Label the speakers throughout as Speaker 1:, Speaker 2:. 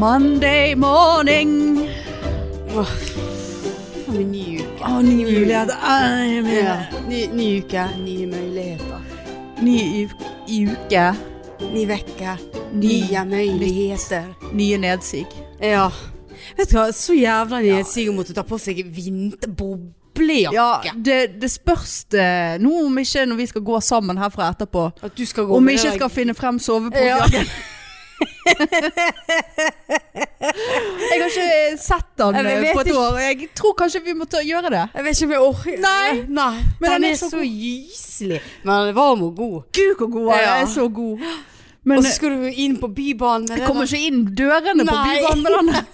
Speaker 1: Monday morning.
Speaker 2: Åh, faen, en ny uke.
Speaker 1: Å, nye muligheter. Ah, jeg mener.
Speaker 2: Ja. Ny, ny uke, nye muligheter.
Speaker 1: Ny u- uke.
Speaker 2: Ny vekke,
Speaker 1: Ny-
Speaker 2: nye muligheter.
Speaker 1: Nye nedsig.
Speaker 2: Ja. Vet du hva, så jævla nedsig å måtte ta på seg vinterboblejakke.
Speaker 1: Ja, det, det spørs det nå om ikke når vi skal gå sammen herfra etterpå.
Speaker 2: At du skal gå
Speaker 1: Om
Speaker 2: med
Speaker 1: vi ikke
Speaker 2: deg-
Speaker 1: skal finne frem
Speaker 2: ja.
Speaker 1: soveposejakken. Jeg har ikke sett den
Speaker 2: Jeg vet
Speaker 1: eh, på et
Speaker 2: ikke.
Speaker 1: år. og Jeg tror kanskje vi må ta, gjøre det.
Speaker 2: Jeg vet ikke om jeg orker
Speaker 1: Nei.
Speaker 2: Nei. den,
Speaker 1: Men den er
Speaker 2: er
Speaker 1: så
Speaker 2: så, gyselig. Men den er varm og god.
Speaker 1: Gud, hvor god
Speaker 2: Ja.
Speaker 1: jeg er. Så god. Men
Speaker 2: og så skal du inn på Bybanen med
Speaker 1: jeg kommer ikke inn dørene på
Speaker 2: Nei.
Speaker 1: Bybanen med den.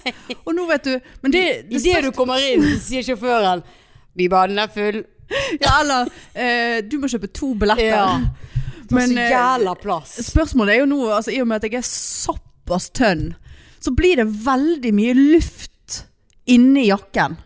Speaker 1: Og nå vet du Men det, det
Speaker 2: Idet du kommer inn, så sier sjåføren 'Bybanen er full'.
Speaker 1: Ja, eller eh, du må kjøpe to billetter.
Speaker 2: Ja. Men,
Speaker 1: Men
Speaker 2: så
Speaker 1: eh,
Speaker 2: jævla plass.
Speaker 1: spørsmålet er jo nå, altså, i og med at jeg er såpass tønn, så blir det veldig mye luft inni jakken.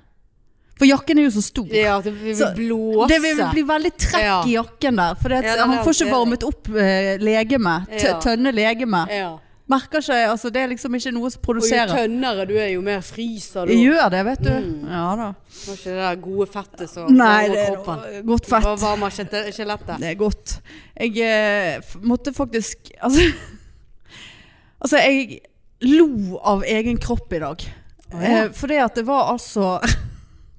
Speaker 1: For jakken er jo så stor.
Speaker 2: Ja, det vil
Speaker 1: Så-
Speaker 2: blåse.
Speaker 1: Det vil bli veldig trekk
Speaker 2: Ja.
Speaker 1: i jakken der. For
Speaker 2: Ja, det er
Speaker 1: han får ikke
Speaker 2: det.
Speaker 1: varmet opp eh, legeme. Tø
Speaker 2: Ja.
Speaker 1: Tønne legeme.
Speaker 2: ja.
Speaker 1: Merker ikke altså, Det er liksom ikke noe som
Speaker 2: Og jo
Speaker 1: produserer.
Speaker 2: tønnere du er, jo mer fryser du.
Speaker 1: Jeg gjør det, vet du.
Speaker 2: Mm.
Speaker 1: Ja da.
Speaker 2: Har ikke det der gode fettet som
Speaker 1: Nei,
Speaker 2: varmer
Speaker 1: det er
Speaker 2: kroppen.
Speaker 1: noe- godt fett.
Speaker 2: Hva varmer skjete- skjelettet?
Speaker 1: Det er godt. Jeg eh, f- måtte faktisk altså, altså, jeg lo av egen kropp i dag.
Speaker 2: ja.
Speaker 1: Eh, fordi at det var altså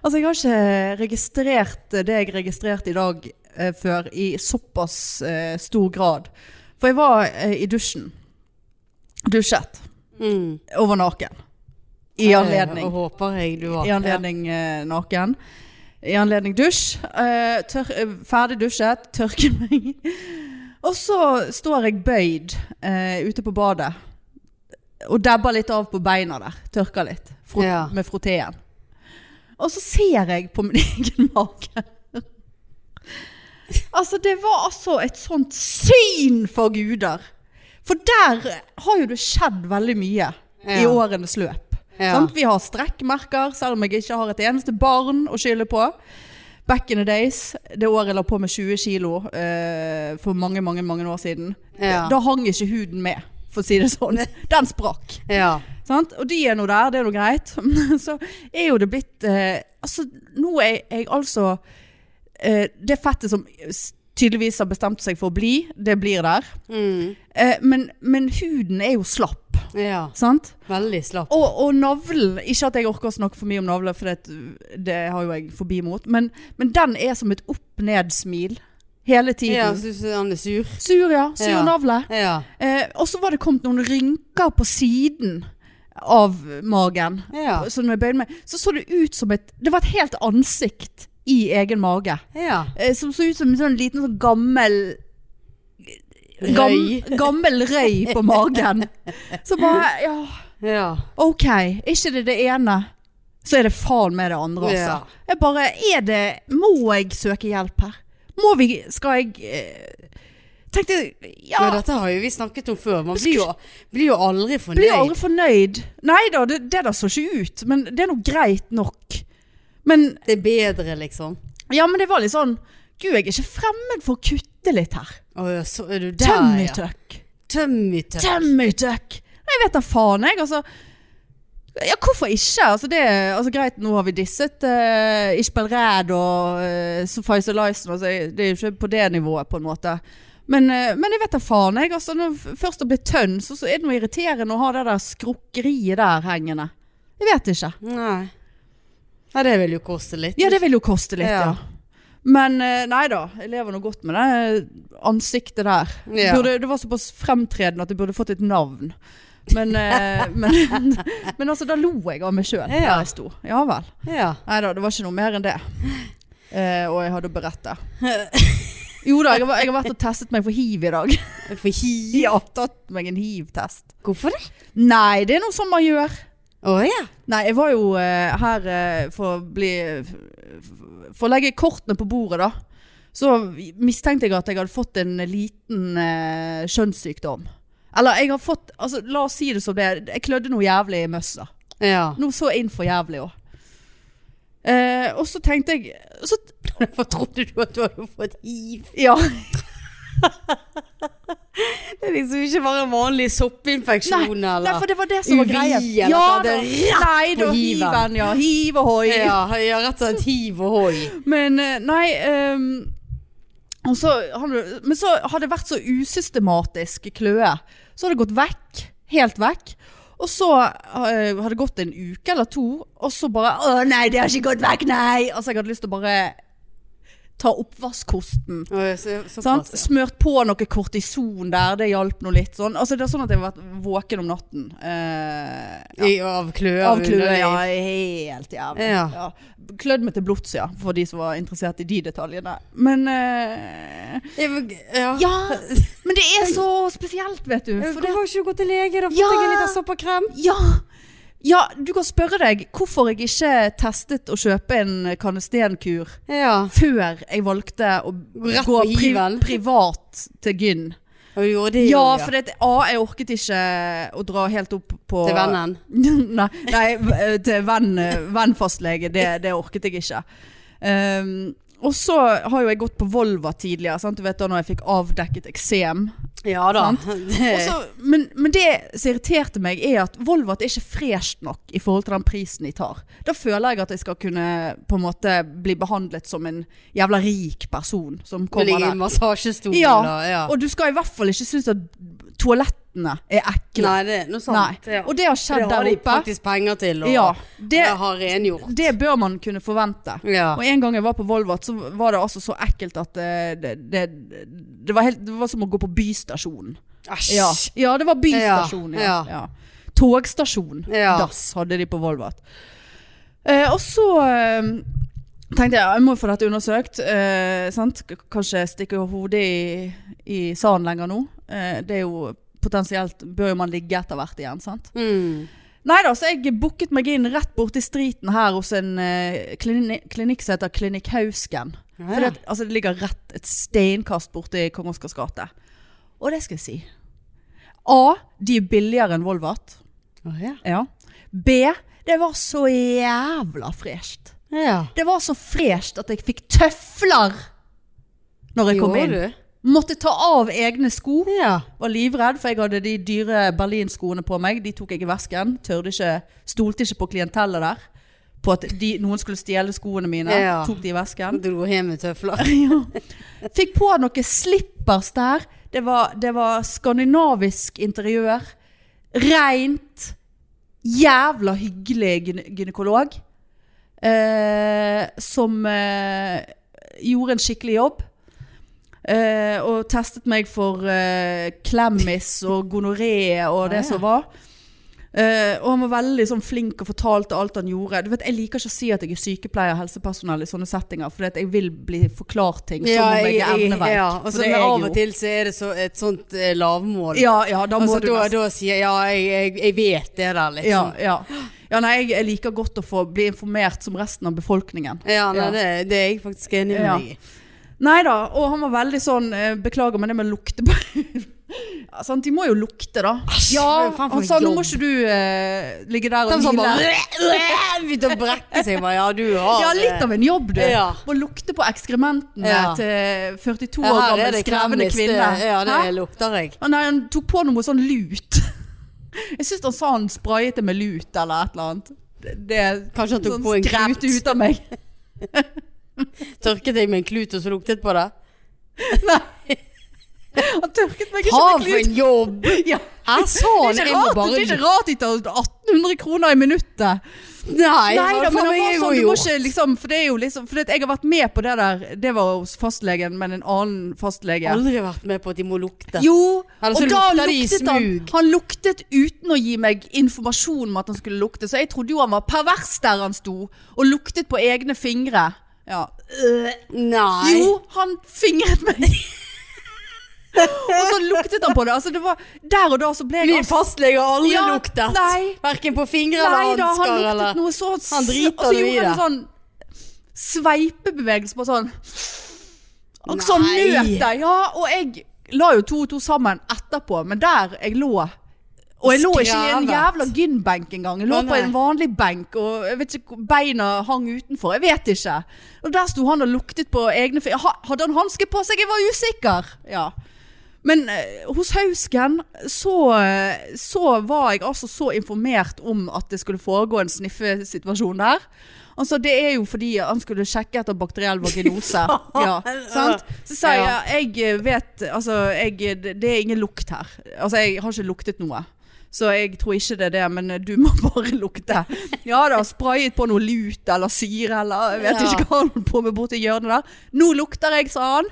Speaker 1: Altså, jeg har ikke registrert det jeg registrerte i dag eh, før i såpass eh, stor grad. For jeg var eh, i dusjen. Dusjet.
Speaker 2: Mm.
Speaker 1: Over naken. I anledning.
Speaker 2: Jeg håper jeg du var.
Speaker 1: I anledning eh, naken. I anledning dusj. Eh, tør, eh, ferdig dusjet, tørker meg. Og så står jeg bøyd eh, ute på badet. Og dabber litt av på beina der. Tørker litt frot,
Speaker 2: Ja.
Speaker 1: med froteen. Og så ser jeg på min egen mage. altså, det var altså et sånt syn for guder. For der har jo det skjedd veldig mye i
Speaker 2: Ja.
Speaker 1: årenes løp.
Speaker 2: Ja.
Speaker 1: Sant? Vi har strekkmerker, selv om jeg ikke har et eneste barn å skylde på. Back in the days, det året jeg la på meg 20 kilo eh, for mange, mange, mange år siden.
Speaker 2: Ja.
Speaker 1: Da hang ikke huden med, for å si det sånn. Den sprakk.
Speaker 2: Ja.
Speaker 1: Sant? Og de er nå der, det er nå greit. Så er jo det blitt eh, Altså, nå er jeg altså eh, Det fettet som s- tydeligvis har bestemt seg for å bli, det blir der.
Speaker 2: Mm.
Speaker 1: Eh, men, men huden er jo slapp,
Speaker 2: ja.
Speaker 1: sant?
Speaker 2: Veldig slapp.
Speaker 1: Og, og navlen Ikke at jeg orker å snakke for mye om navlen, for det, det har jo jeg forbi mot, men, men den er som et opp-ned-smil hele
Speaker 2: Ja,
Speaker 1: tiden.
Speaker 2: syns han er sur.
Speaker 1: Sur, ja. Sur
Speaker 2: Ja.
Speaker 1: navle.
Speaker 2: Ja.
Speaker 1: Eh, og så var det kommet noen rynker på siden av magen.
Speaker 2: Ja.
Speaker 1: Så når jeg bøyde meg, så så det ut som et Det var et helt ansikt i egen mage.
Speaker 2: ja.
Speaker 1: Eh, som så ut som en sånn liten sånn gammel
Speaker 2: Røy.
Speaker 1: gammel røy på magen. Så bare Ja,
Speaker 2: Ja.
Speaker 1: OK. Ikke det det ene. Så er det faen meg det andre, altså.
Speaker 2: Ja.
Speaker 1: Jeg bare Er det Må jeg søke hjelp her? Må vi Skal jeg eh, Tenkte Ja.
Speaker 2: Men dette har jo vi snakket om før. Man blir jo, blir jo aldri fornøyd.
Speaker 1: Blir aldri fornøyd. Nei da, det, det der så ikke ut. Men det er nå greit nok. Men
Speaker 2: Det er bedre, liksom.
Speaker 1: Ja, men det var litt sånn Gud, jeg er ikke fremmed for å kutte litt her.
Speaker 2: Å ja, så er du der, ja.
Speaker 1: Tømmertøkk.
Speaker 2: Tømmitøkk.
Speaker 1: Tømmertøkk. Jeg vet da faen, jeg. Altså. Ja, hvorfor ikke? Altså, det, altså, greit, nå har vi disset uh, Ishbel Red og uh, Suffice Lyson. Altså, jeg- det er jo ikke på det nivået, på en måte. Men, eh, men jeg vet da faen, jeg. Altså, når f- først å bli tønn, så, så er det noe irriterende å ha det der skrukkeriet der hengende. Jeg vet ikke.
Speaker 2: Nei. Nei, det vil jo koste litt.
Speaker 1: Ja, det vil jo koste litt, ja.
Speaker 2: Ja.
Speaker 1: Men eh, nei da, jeg lever nå godt med det eh, ansiktet der.
Speaker 2: Ja.
Speaker 1: Burde, det var såpass fremtredende at jeg burde fått et navn. Men, eh, men, men altså, da lo jeg av meg sjøl der
Speaker 2: Ja.
Speaker 1: jeg sto. Ja vel.
Speaker 2: Ja.
Speaker 1: Nei da, det var ikke noe mer enn det. Eh, og jeg hadde å berette. Jo da, jeg har, jeg har vært og testet meg for hiv i dag.
Speaker 2: For hi.
Speaker 1: Ja, tatt meg en hiv-test.
Speaker 2: Hvorfor det?
Speaker 1: Nei, det er noe som man gjør.
Speaker 2: Å ja.
Speaker 1: Nei, jeg var jo eh, her eh, for å bli For å legge kortene på bordet, da. Så mistenkte jeg at jeg hadde fått en liten eh, kjønnssykdom. Eller jeg har fått altså, La oss si det som det er. Jeg klødde noe jævlig i møssa.
Speaker 2: Ja.
Speaker 1: Noe så inn for jævlig òg. Eh, og så tenkte jeg så,
Speaker 2: Hvorfor trodde du at du hadde fått hiv?
Speaker 1: Ja.
Speaker 2: Det er liksom ikke bare en vanlig soppinfeksjon eller
Speaker 1: Nei, for det var det som var
Speaker 2: UVI,
Speaker 1: greia.
Speaker 2: eller
Speaker 1: Ja,
Speaker 2: at det
Speaker 1: da,
Speaker 2: er
Speaker 1: nei, da,
Speaker 2: på hiven.
Speaker 1: hiven. Ja, hiv og hoi.
Speaker 2: ja, ja, rett og slett hiv og hoi.
Speaker 1: Men eh, nei ehm, og så, han, ble- Men så har det vært så usystematisk kløe. Så har det gått vekk. Helt vekk. Og så eh, har det gått en uke eller to, og så bare Å nei, det har ikke gått vekk, nei! Altså, jeg hadde lyst til å bare ta oppvaskkosten.
Speaker 2: Oi, så-
Speaker 1: Sant?
Speaker 2: såpass, ja.
Speaker 1: Smørt på noe kortison der, det hjalp nå litt sånn. Altså, det er sånn at jeg har vært våken om natten. Eh,
Speaker 2: I- Av kløe.
Speaker 1: av kløe,
Speaker 2: underliv.
Speaker 1: ja. Helt jævlig.
Speaker 2: Ja.
Speaker 1: Ja. Klødd meg til blods, ja. For de som var interessert i de detaljene. Men eh,
Speaker 2: Ja, men- ja.
Speaker 1: Ja! Men det er så spesielt, vet du. For det,
Speaker 2: Hvorfor har ikke du gått til lege? Da fått
Speaker 1: Ja.
Speaker 2: deg en liten soppekrem.
Speaker 1: ja. ja, du kan spørre deg hvorfor jeg ikke testet å kjøpe en kanestenkur
Speaker 2: Ja.
Speaker 1: før jeg valgte å
Speaker 2: Rett
Speaker 1: gå
Speaker 2: på hiven.
Speaker 1: privat til gyn.
Speaker 2: Og du gjorde det
Speaker 1: Ja,
Speaker 2: jo,
Speaker 1: for det, A, jeg orket ikke å dra helt opp på
Speaker 2: Til vennen.
Speaker 1: nei, nei, v- til venn, eh, vennfastlege, det, det orket jeg ikke. Ehm, og så har jo jeg gått på Volva tidligere, sant? du vet da når jeg fikk avdekket eksem.
Speaker 2: Ja da. Det,
Speaker 1: Og så- Men, men det som irriterte meg er at Volvat er ikke fresht nok i forhold til den prisen de tar. Da føler jeg at jeg skal kunne på en måte bli behandlet som en jævla rik person som
Speaker 2: det
Speaker 1: kommer
Speaker 2: ligger
Speaker 1: der.
Speaker 2: en massasjestol
Speaker 1: Ja,
Speaker 2: da. Ja.
Speaker 1: Og du skal i hvert fall ikke synes at toalettene er ekle.
Speaker 2: Nei, det er noe sant.
Speaker 1: Nei.
Speaker 2: Ja.
Speaker 1: Og det har skjedd
Speaker 2: det har
Speaker 1: der
Speaker 2: de
Speaker 1: oppe.
Speaker 2: faktisk penger til. Og
Speaker 1: Ja,
Speaker 2: det,
Speaker 1: det,
Speaker 2: har rengjort.
Speaker 1: det bør man kunne forvente.
Speaker 2: Ja.
Speaker 1: Og en gang jeg var på Volvat, så var det altså så ekkelt at eh, det, det, det, var, helt, det var som å gå på bystasjonen.
Speaker 2: Æsj.
Speaker 1: Ja, ja det var bystasjon. Ja.
Speaker 2: Ja,
Speaker 1: Ja. Togstasjon.
Speaker 2: Ja.
Speaker 1: Dass hadde de på Volvat. Eh, og så eh, tenkte jeg jeg må få dette undersøkt. Eh, sant? K- Kanskje stikke hodet i, i sanden lenger nå. Eh, det er jo potensielt Bør jo man ligge etter hvert igjen, sant?
Speaker 2: Mm.
Speaker 1: Nei da, så jeg booket meg inn rett borti striten her hos en eh, klini klinikk som heter Klinikk Hausken.
Speaker 2: Ja,
Speaker 1: For det, altså, det ligger rett et steinkast borti Kong Oscars gate. Og det skal jeg si. A. De er billigere enn Volvat.
Speaker 2: Å, ja.
Speaker 1: Ja. B. Det var så jævla fresht.
Speaker 2: ja.
Speaker 1: Det var så fresht at jeg fikk tøfler når jeg kom
Speaker 2: Gjorde
Speaker 1: inn.
Speaker 2: du?
Speaker 1: Måtte ta av egne sko.
Speaker 2: Ja.
Speaker 1: Var livredd, for jeg hadde de dyre berlinskoene på meg. De tok jeg i vesken. Tørde ikke, stolte ikke på klientellet der. På at de, noen skulle stjele skoene mine.
Speaker 2: Ja.
Speaker 1: Tok de i vesken.
Speaker 2: Dro hjem med tøfler.
Speaker 1: Fikk på noen slippers der. Det var, det var skandinavisk interiør. Rent. Jævla hyggelig gyne gynekolog. Eh, som eh, gjorde en skikkelig jobb. Eh, og testet meg for eh, klemmis og gonoré og
Speaker 2: Ah, ja.
Speaker 1: det som var. Eh, og han var veldig sånn, flink og fortalte alt han gjorde. Du vet, Jeg liker ikke å si at jeg er sykepleier og helsepersonell i sånne settinger, for jeg vil bli forklart ting som om jeg er evneverk.
Speaker 2: ja.
Speaker 1: for
Speaker 2: Og så
Speaker 1: det er
Speaker 2: men
Speaker 1: jeg
Speaker 2: av
Speaker 1: jo.
Speaker 2: og til så er det så et sånt eh, lavmål.
Speaker 1: Ja, ja, da må
Speaker 2: altså,
Speaker 1: du
Speaker 2: da,
Speaker 1: nesten-
Speaker 2: da sier jeg ja, jeg, jeg, jeg vet det der,
Speaker 1: ja,
Speaker 2: liksom.
Speaker 1: ja. ja, nei, jeg, jeg liker godt å få bli informert som resten av befolkningen.
Speaker 2: Ja, nei,
Speaker 1: Ja.
Speaker 2: Det, det er jeg faktisk enig med
Speaker 1: Ja.
Speaker 2: deg i.
Speaker 1: Nei da, og han var veldig sånn eh, Beklager, men det med lukte på ja, sant? De må jo lukte, da.
Speaker 2: Æsj,
Speaker 1: ja,
Speaker 2: faen for
Speaker 1: han sa nå
Speaker 2: jobb.
Speaker 1: må ikke du eh, ligge der
Speaker 2: Den
Speaker 1: og
Speaker 2: som
Speaker 1: hvile.
Speaker 2: bare begynte å brekke seg. Jeg Bare, ja, du har
Speaker 1: Ja, litt av en jobb, du.
Speaker 2: eh, Ja.
Speaker 1: Må lukte på ekskrementene
Speaker 2: Ja.
Speaker 1: til 42
Speaker 2: Ja, her er
Speaker 1: år gammel
Speaker 2: det
Speaker 1: skrevne
Speaker 2: kremlis,
Speaker 1: kvinne.
Speaker 2: det- Ja, det
Speaker 1: Hæ?
Speaker 2: lukter jeg.
Speaker 1: Å, Nei, han tok på noe sånn lut. Jeg syns han sa han sprayet det med lut eller et eller annet. Det, det
Speaker 2: Kanskje han tok
Speaker 1: sånn
Speaker 2: på en
Speaker 1: skrevt
Speaker 2: klut.
Speaker 1: ut av meg.
Speaker 2: Tørket jeg med en klut og så luktet på det?
Speaker 1: Han tørket meg ikke
Speaker 2: Ha
Speaker 1: med
Speaker 2: for
Speaker 1: klut.
Speaker 2: en jobb!
Speaker 1: Ja.
Speaker 2: Jeg sa
Speaker 1: Det
Speaker 2: han,
Speaker 1: er
Speaker 2: jeg
Speaker 1: ikke
Speaker 2: må
Speaker 1: rart, det
Speaker 2: bare
Speaker 1: er ikke rart de tar 1800 kroner i minuttet.
Speaker 2: Nei,
Speaker 1: Nei da,
Speaker 2: faen,
Speaker 1: men
Speaker 2: jeg
Speaker 1: han var
Speaker 2: må
Speaker 1: sånn, du
Speaker 2: jo-
Speaker 1: må ikke liksom For det er jo liksom For det, at jeg har vært med på det der. Det var hos fastlegen, men en annen fastlege.
Speaker 2: Aldri vært med på at de må lukte.
Speaker 1: Jo,
Speaker 2: Eller så
Speaker 1: og da
Speaker 2: lukter de i
Speaker 1: luktet han
Speaker 2: smug.
Speaker 1: Han luktet uten å gi meg informasjon om at han skulle lukte Så jeg trodde jo han var pervers der han sto Og luktet på egne fingre ja.
Speaker 2: Nei.
Speaker 1: Jo, han fingret meg Og så luktet han på det, altså, det var, Der og da så ble jeg
Speaker 2: Min fastlege har aldri
Speaker 1: Ja,
Speaker 2: luktet.
Speaker 1: nei.
Speaker 2: Hverken på fingre
Speaker 1: Nei
Speaker 2: eller
Speaker 1: da, han
Speaker 2: hansker
Speaker 1: luktet
Speaker 2: eller
Speaker 1: noe så
Speaker 2: Han driter
Speaker 1: Og så
Speaker 2: jo i
Speaker 1: gjorde han
Speaker 2: det.
Speaker 1: sånn Sveipebevegelse på sånn Og sånn
Speaker 2: Nei.
Speaker 1: nøt jeg Ja, og jeg la jo to og to sammen etterpå Men der jeg lå Og jeg lå ikke i en
Speaker 2: Skravet.
Speaker 1: jævla gymbenk engang. Jeg lå
Speaker 2: Å,
Speaker 1: på
Speaker 2: nei.
Speaker 1: en vanlig benk, og jeg vet ikke hvor beina hang utenfor. Jeg vet ikke. Og der sto han og luktet på egne fe- Ha- Hadde han hanske på seg? Jeg var usikker. Ja. Men eh, hos Hausken så, eh, så var jeg altså så informert om at det skulle foregå en sniffesituasjon der. Altså, det er jo fordi han skulle sjekke etter bakteriell vaginose. ja, sant? Så sa jeg
Speaker 2: Ja.
Speaker 1: jeg eh, vet Altså, jeg, det det er ingen lukt her. Altså, jeg har ikke luktet noe. Så jeg tror ikke det er det, men eh, du må bare lukte. Ja da, sprayet på noe lut eller syre eller Jeg vet
Speaker 2: Ja.
Speaker 1: ikke hva han holdt på med borti hjørnet der. Nå lukter jeg, sa han.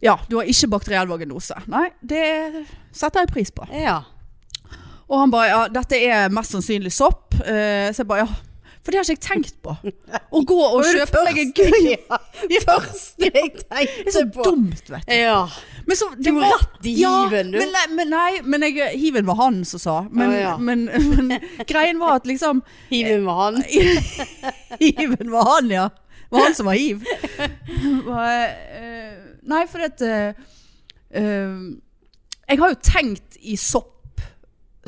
Speaker 1: Ja, du har ikke bakteriell vaginose. Nei, det setter jeg pris på.
Speaker 2: Ja.
Speaker 1: Og han bare, ja, dette er mest sannsynlig sopp. Eh, så jeg bare, ja, for det har ikke jeg tenkt på. Å gå og kjøpe meg en gul
Speaker 2: Ja, første jeg
Speaker 1: Det er
Speaker 2: tenkte
Speaker 1: så
Speaker 2: på.
Speaker 1: dumt, vet du.
Speaker 2: Ja.
Speaker 1: Men så,
Speaker 2: Du
Speaker 1: det var-
Speaker 2: ratt i hiven, du.
Speaker 1: Men, nei, men, nei, men jeg, hiven var han som sa. Men,
Speaker 2: Å, ja.
Speaker 1: men, men greien var at liksom
Speaker 2: Hive med han.
Speaker 1: Hiven var han, ja. Det var han som var hiv. Var, eh, nei, for at eh, eh, Jeg har jo tenkt i sopp.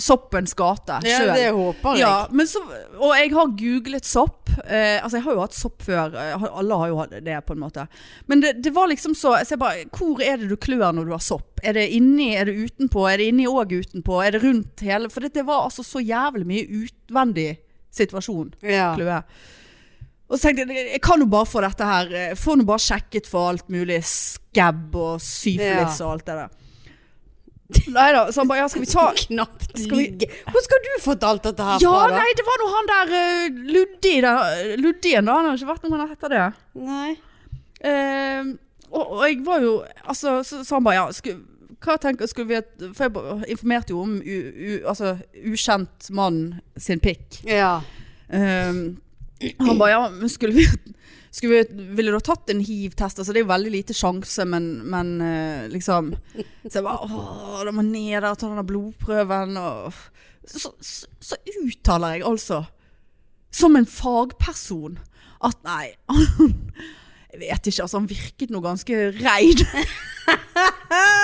Speaker 1: Soppens gate
Speaker 2: Ja,
Speaker 1: sjøl.
Speaker 2: det håper jeg.
Speaker 1: Ja, men så, og jeg har googlet sopp. Eh, altså, jeg har jo hatt sopp før. Eh, har- Alle har jo hatt det, på en måte. Men det, det var liksom så, så jeg bare, Hvor er det du klør når du har sopp? Er det inni, er det utenpå? Er det inni og utenpå? Er det rundt hele? For det, det var altså så jævlig mye utvendig situasjon.
Speaker 2: Ja.
Speaker 1: Kløe. Og så tenkte jeg, jeg kan jo bare få dette her eh, Få nå bare sjekket for alt mulig skabb og syfilis
Speaker 2: Ja.
Speaker 1: og alt det der. Nei da. Så han bare Ja, skal vi ta
Speaker 2: Knapt
Speaker 1: Skal vi-
Speaker 2: ligge. Hvor skal du fått alt dette her
Speaker 1: ja,
Speaker 2: fra, da?
Speaker 1: nei, det var nå han der eh, Luddi der, Luddien da, han har ikke vært noen han heter det.
Speaker 2: Nei.
Speaker 1: Eh, og, og jeg var jo, altså, så sa han bare, ja, sku, hva tenker, skulle vi, ha- for jeg ba- informerte jo om u, u, altså, ukjent mann sin pikk.
Speaker 2: Ja.
Speaker 1: Eh, han bare, ja, men skulle vi, skulle vi, ville du ha tatt en HIV-test? Altså, det er jo veldig lite sjanse, men, men eh, liksom, så jeg bare, åh, da må jeg ned der og ta denne blodprøven, og så, så, så uttaler jeg altså som en fagperson at nei han, Jeg vet ikke, altså han virket noe ganske reid.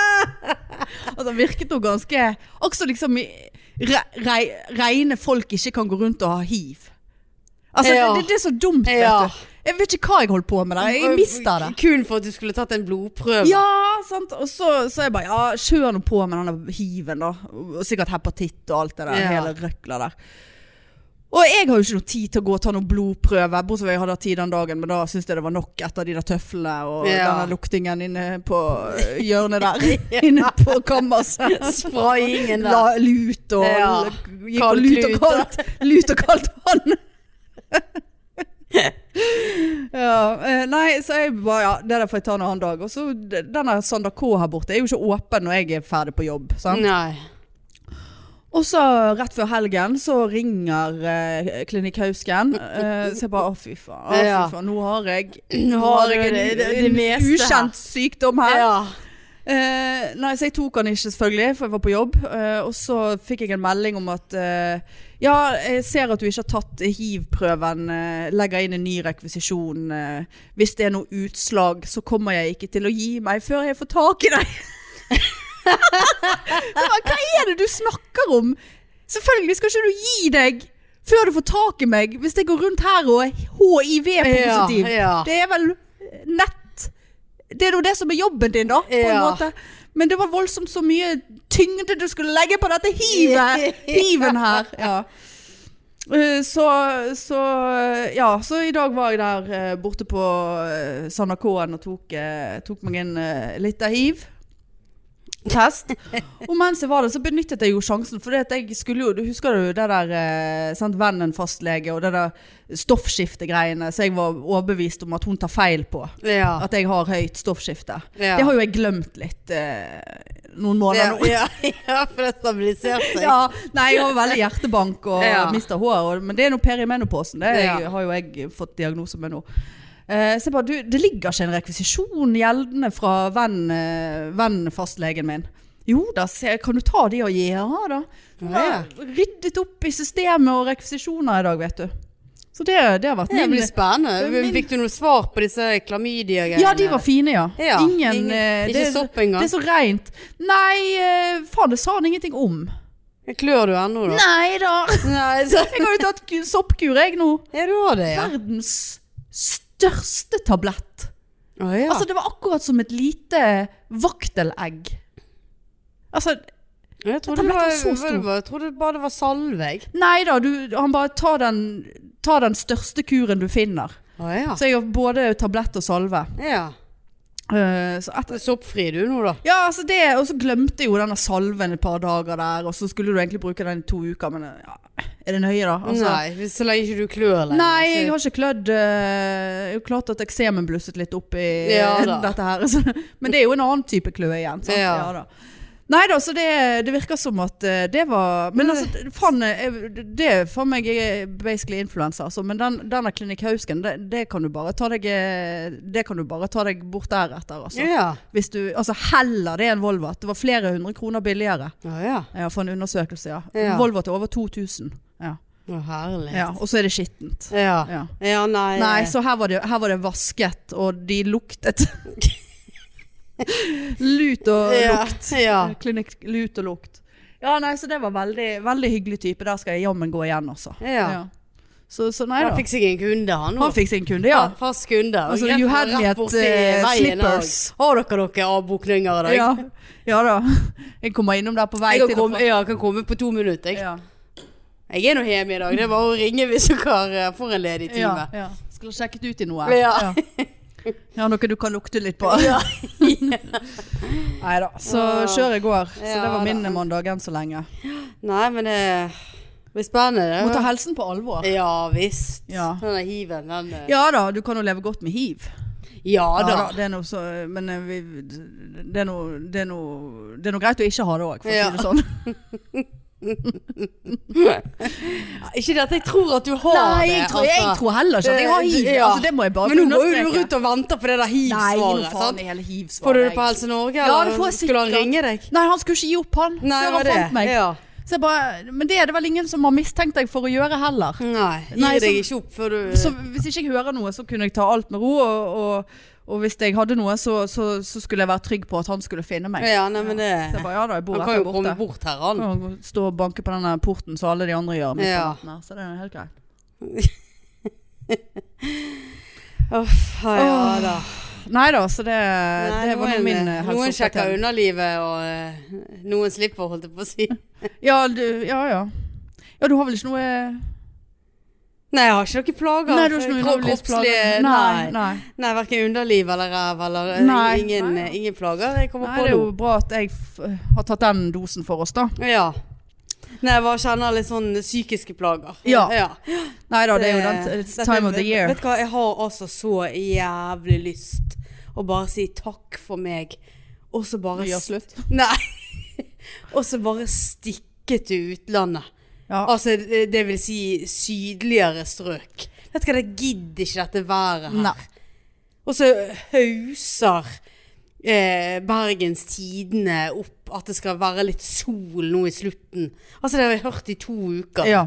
Speaker 1: altså han virket noe ganske Også liksom i- re, re, reine folk ikke kan gå rundt og ha hiv. Altså
Speaker 2: Ja.
Speaker 1: det, det er så dumt, vet
Speaker 2: Ja.
Speaker 1: du. Jeg vet ikke hva jeg holdt på med der. Jeg mister det.
Speaker 2: Kun for at du skulle tatt en blodprøve.
Speaker 1: Ja, sant. Og så, så jeg bare Ja, kjør nå på med denne hiven, da. Og sikkert hepatitt og alt det der.
Speaker 2: Ja.
Speaker 1: Hele røkla der. Og jeg har jo ikke noe tid til å gå og ta noen blodprøve, bortsett fra jeg hadde hatt tid den dagen, men da syntes jeg det var nok etter de der tøflene og
Speaker 2: Ja.
Speaker 1: denne luktingen inne på eh, hjørnet der. Inne på kammerset.
Speaker 2: Sprayingen der.
Speaker 1: La, lut og
Speaker 2: Ja.
Speaker 1: gikk på
Speaker 2: Kaldt
Speaker 1: lut og
Speaker 2: lut,
Speaker 1: kaldt, lut og kaldt vann. ja, eh, nei, så jeg bare ja, Det der får jeg ta en annen dag. Og så d- denne Sander K her borte er jo ikke åpen når jeg er ferdig på jobb. Sant?
Speaker 2: Sånn. Nei.
Speaker 1: Og så rett før helgen så ringer eh, Klinikk Hausken. Eh, så jeg bare å, fy faen. Å,
Speaker 2: Ja.
Speaker 1: fy faen. Nå har jeg,
Speaker 2: Nå har jeg det- det- det
Speaker 1: en
Speaker 2: meste her.
Speaker 1: ukjent sykdom her.
Speaker 2: Ja.
Speaker 1: Eh, nei, så jeg tok han ikke selvfølgelig, for jeg var på jobb. Eh, og så fikk jeg en melding om at eh, Ja, jeg ser at du ikke har tatt hiv-prøven. Eh, legger inn en ny rekvisisjon. Eh, hvis det er noe utslag, så kommer jeg ikke til å gi meg før jeg får tak i deg. Jeg bare, Hva er det du snakker om? Selvfølgelig skal ikke du gi deg før du får tak i meg, hvis jeg går rundt her og er hiv-positiv.
Speaker 2: Ja, ja.
Speaker 1: Det er vel nett Det er jo det som er jobben din, da. På en
Speaker 2: Ja.
Speaker 1: måte. Men det var voldsomt så mye tyngde du skulle legge på dette hivet. Hiven her. Ja. Eh, Så, så Ja, så i dag var jeg der eh, borte på eh, Sander K-en og tok, eh, tok meg en eh, liten hiv. Test. Og mens jeg var der, så benyttet jeg jo sjansen. For det at jeg skulle jo, du husker jo det der eh, sant, vennen fastlege og det der stoffskiftegreiene som jeg var overbevist om at hun tar feil på.
Speaker 2: Ja.
Speaker 1: At jeg har høyt stoffskifte.
Speaker 2: Ja.
Speaker 1: Det har jo jeg glemt litt eh, noen
Speaker 2: Ja,
Speaker 1: måneder nå.
Speaker 2: ja, ja, for det stabiliserte seg.
Speaker 1: Ja, nei, jeg har veldig hjertebank og
Speaker 2: Ja.
Speaker 1: mister hår. og- Men det er nå perimenoposen. Det er-
Speaker 2: Ja.
Speaker 1: har jo jeg fått diagnose med nå. Eh, så jeg bare, du, det ligger ikke en rekvisisjon gjeldende fra venn, eh, venn fastlegen min. Jo da, se, kan du ta de og ja da. Hun har
Speaker 2: Ja.
Speaker 1: Ryddet opp i systemet og rekvisisjoner i dag, vet du. Så det, det har vært
Speaker 2: Det
Speaker 1: min
Speaker 2: blir spennende.
Speaker 1: min-
Speaker 2: Fikk du noe svar på disse klamydia-greiene?
Speaker 1: Ja, de var fine, ja.
Speaker 2: Ja,
Speaker 1: ingen,
Speaker 2: ingen-
Speaker 1: eh,
Speaker 2: ikke
Speaker 1: det, er-
Speaker 2: sopp engang.
Speaker 1: Det er så rent. Nei, eh, faen, det sa han ingenting om.
Speaker 2: Klør du ennå, da?
Speaker 1: Nei da!
Speaker 2: Nei, så,
Speaker 1: Jeg har jo tatt ku- soppkur, jeg nå.
Speaker 2: ja, du har det, ja.
Speaker 1: Verdens største tablett.
Speaker 2: Å, ja.
Speaker 1: Altså, det var akkurat som et lite vaktelegg. Altså,
Speaker 2: jeg trodde det
Speaker 1: tabletten
Speaker 2: var,
Speaker 1: var så
Speaker 2: var,
Speaker 1: stor.
Speaker 2: det var, jeg trodde bare det var salve. jeg.
Speaker 1: nei da, du, han bare tar den, ta den største kuren du finner.
Speaker 2: Å ja.
Speaker 1: Så jeg har både tablett og salve.
Speaker 2: ja.
Speaker 1: Eh, så etter
Speaker 2: Så Soppfri du nå, da.
Speaker 1: Ja, altså det, og så glemte jeg jo denne salven et par dager der, og så skulle du egentlig bruke den i to uker, men eh, ja, er det nøye da? Altså,
Speaker 2: nei, hvis- så lenge ikke du klør lenger.
Speaker 1: Nei, jeg
Speaker 2: så-
Speaker 1: har ikke klødd. øh, jo klart at eksemen blusset litt opp i
Speaker 2: Ja da.
Speaker 1: dette her. Så, men det er jo en annen type kløe igjen. Sant?
Speaker 2: Ja.
Speaker 1: Ja. da. Nei da, så det, det virker som at øh, det var Men
Speaker 2: Mm.
Speaker 1: altså, faen, jeg- det er faen meg jeg er basically influensa, altså. Men den, denne Klinikk Hausken, det, det kan du bare ta deg øh, Det kan du bare ta deg bort deretter, altså.
Speaker 2: Ja.
Speaker 1: Hvis du, altså heller det er en Volvo. Det var flere hundre kroner billigere
Speaker 2: Å ja.
Speaker 1: ja, for en undersøkelse. Ja.
Speaker 2: Ja.
Speaker 1: Volvo til over 2000. Ja.
Speaker 2: Å, herlig.
Speaker 1: Ja, og så er det skittent.
Speaker 2: Ja.
Speaker 1: Ja.
Speaker 2: Ja, nei.
Speaker 1: Nei, så her var, det, her var det vasket, og de luktet. lut og
Speaker 2: ja.
Speaker 1: lukt.
Speaker 2: Ja.
Speaker 1: Klinikk lut og lukt. Ja, nei, så det var veldig, veldig hyggelig type. Der skal jeg jammen gå igjen, altså.
Speaker 2: Ja.
Speaker 1: Så, så nei
Speaker 2: Da
Speaker 1: da.
Speaker 2: fikk jeg en kunde, han nå.
Speaker 1: Han fikk sin kunde, ja.
Speaker 2: Fast kunde. og
Speaker 1: Altså,
Speaker 2: rett-
Speaker 1: uheldighet,
Speaker 2: rett borti
Speaker 1: eh,
Speaker 2: veien
Speaker 1: slippers.
Speaker 2: her. Har dere noen avbokninger i dag?
Speaker 1: Ja, ja da. Jeg kommer innom der på vei
Speaker 2: Jeg kan
Speaker 1: til og
Speaker 2: komme,
Speaker 1: fra-
Speaker 2: ja, jeg kan komme på to minutter. Jeg,
Speaker 1: Ja.
Speaker 2: jeg er nå hjemme i dag. Det er bare å ringe hvis dere eh, får en ledig time.
Speaker 1: Ja, ja. Skulle ha sjekket ut i noe.
Speaker 2: Ja.
Speaker 1: Ja, noe du kan lukte litt på.
Speaker 2: Ja.
Speaker 1: Nei da. Så kjøret går. Så
Speaker 2: Ja
Speaker 1: det var min
Speaker 2: da.
Speaker 1: mandag enn så lenge.
Speaker 2: Nei, men eh, det blir spennende.
Speaker 1: Må ta
Speaker 2: det.
Speaker 1: helsen på alvor.
Speaker 2: Ja visst.
Speaker 1: Ja.
Speaker 2: Den der hiven, den eh,
Speaker 1: Ja da, du kan jo leve godt med hiv.
Speaker 2: ja
Speaker 1: Ja
Speaker 2: da.
Speaker 1: da, det er noe så Men eh, vi, det, er noe, det, er noe, det er noe greit å ikke ha det òg, for å
Speaker 2: Ja.
Speaker 1: si det sånn.
Speaker 2: Ikke det at jeg tror at du har det.
Speaker 1: Nei, jeg tror, jeg
Speaker 2: altså.
Speaker 1: tror heller ikke at jeg har hiv.
Speaker 2: Ja.
Speaker 1: Altså, det må jeg bare
Speaker 2: Men nå går jo
Speaker 1: få
Speaker 2: du
Speaker 1: understreke.
Speaker 2: rundt og venter på det der
Speaker 1: Nei, gi
Speaker 2: hiv-svaret.
Speaker 1: noe faen
Speaker 2: sant?
Speaker 1: i hele hiv-svaret.
Speaker 2: Får du det
Speaker 1: jeg.
Speaker 2: på Helse Norge?
Speaker 1: Ja,
Speaker 2: eller
Speaker 1: det får jeg
Speaker 2: Skulle han
Speaker 1: sikkert.
Speaker 2: ringe deg?
Speaker 1: Nei, han skulle ikke gi opp, han.
Speaker 2: Nei, var
Speaker 1: før han
Speaker 2: det?
Speaker 1: fant meg.
Speaker 2: Ja.
Speaker 1: Så jeg bare, men det er det vel ingen som har mistenkt deg for å gjøre heller.
Speaker 2: Nei, gir
Speaker 1: Nei,
Speaker 2: deg
Speaker 1: så-
Speaker 2: ikke opp før du
Speaker 1: Så hvis ikke jeg hører noe, så kunne jeg ta alt med ro. Og, og, og hvis jeg hadde noe, så, så, så skulle jeg være trygg på at han skulle finne meg.
Speaker 2: Ja, nei, men det
Speaker 1: Så jeg bare, ja da, jeg bor
Speaker 2: Han kan
Speaker 1: rett
Speaker 2: jo
Speaker 1: der
Speaker 2: komme
Speaker 1: borte.
Speaker 2: bort her, han.
Speaker 1: Kan jo Stå og banke på denne porten som alle de andre gjør. midt på
Speaker 2: Ja.
Speaker 1: natten her, Så det er helt greit.
Speaker 2: Uff, ja, ja da.
Speaker 1: Nei da, så det,
Speaker 2: Nei,
Speaker 1: det var nå
Speaker 2: noen-
Speaker 1: min eh,
Speaker 2: Noen sjekker
Speaker 1: helseoppdatering.
Speaker 2: underlivet, og eh, noen slipper, holdt jeg på å si.
Speaker 1: Ja, du, ja, ja. Ja, du har vel ikke noe
Speaker 2: Nei, jeg har ikke noen plager.
Speaker 1: Nei, du har ikke noe
Speaker 2: Kro-
Speaker 1: ulovlig
Speaker 2: kroppslige-
Speaker 1: plage? Nei,
Speaker 2: Nei,
Speaker 1: nei.
Speaker 2: nei verken underliv eller ræv eller eh,
Speaker 1: Nei.
Speaker 2: Ingen,
Speaker 1: Nei, ja.
Speaker 2: ingen plager. Jeg kommer
Speaker 1: Nei,
Speaker 2: på
Speaker 1: det er jo
Speaker 2: nå.
Speaker 1: bra at jeg f har tatt den dosen for oss, da.
Speaker 2: Ja. Nei, jeg bare kjenner litt sånn psykiske plager.
Speaker 1: Ja. Nei da, det er jo den it's
Speaker 2: Dette-
Speaker 1: time of the year.
Speaker 2: Vet du hva, jeg har altså så jævlig lyst å bare si takk for meg, og så bare
Speaker 1: Vi gjør
Speaker 2: s-
Speaker 1: slutt.
Speaker 2: Nei. Og så bare stikke til utlandet.
Speaker 1: Ja.
Speaker 2: Altså, det det vil si sydligere strøk. Vet du hva, jeg gidder ikke dette været her.
Speaker 1: Nei.
Speaker 2: Og så hauser eh, Bergens Tidende opp at det skal være litt sol nå i slutten. Altså, det har jeg hørt i to uker.
Speaker 1: Ja.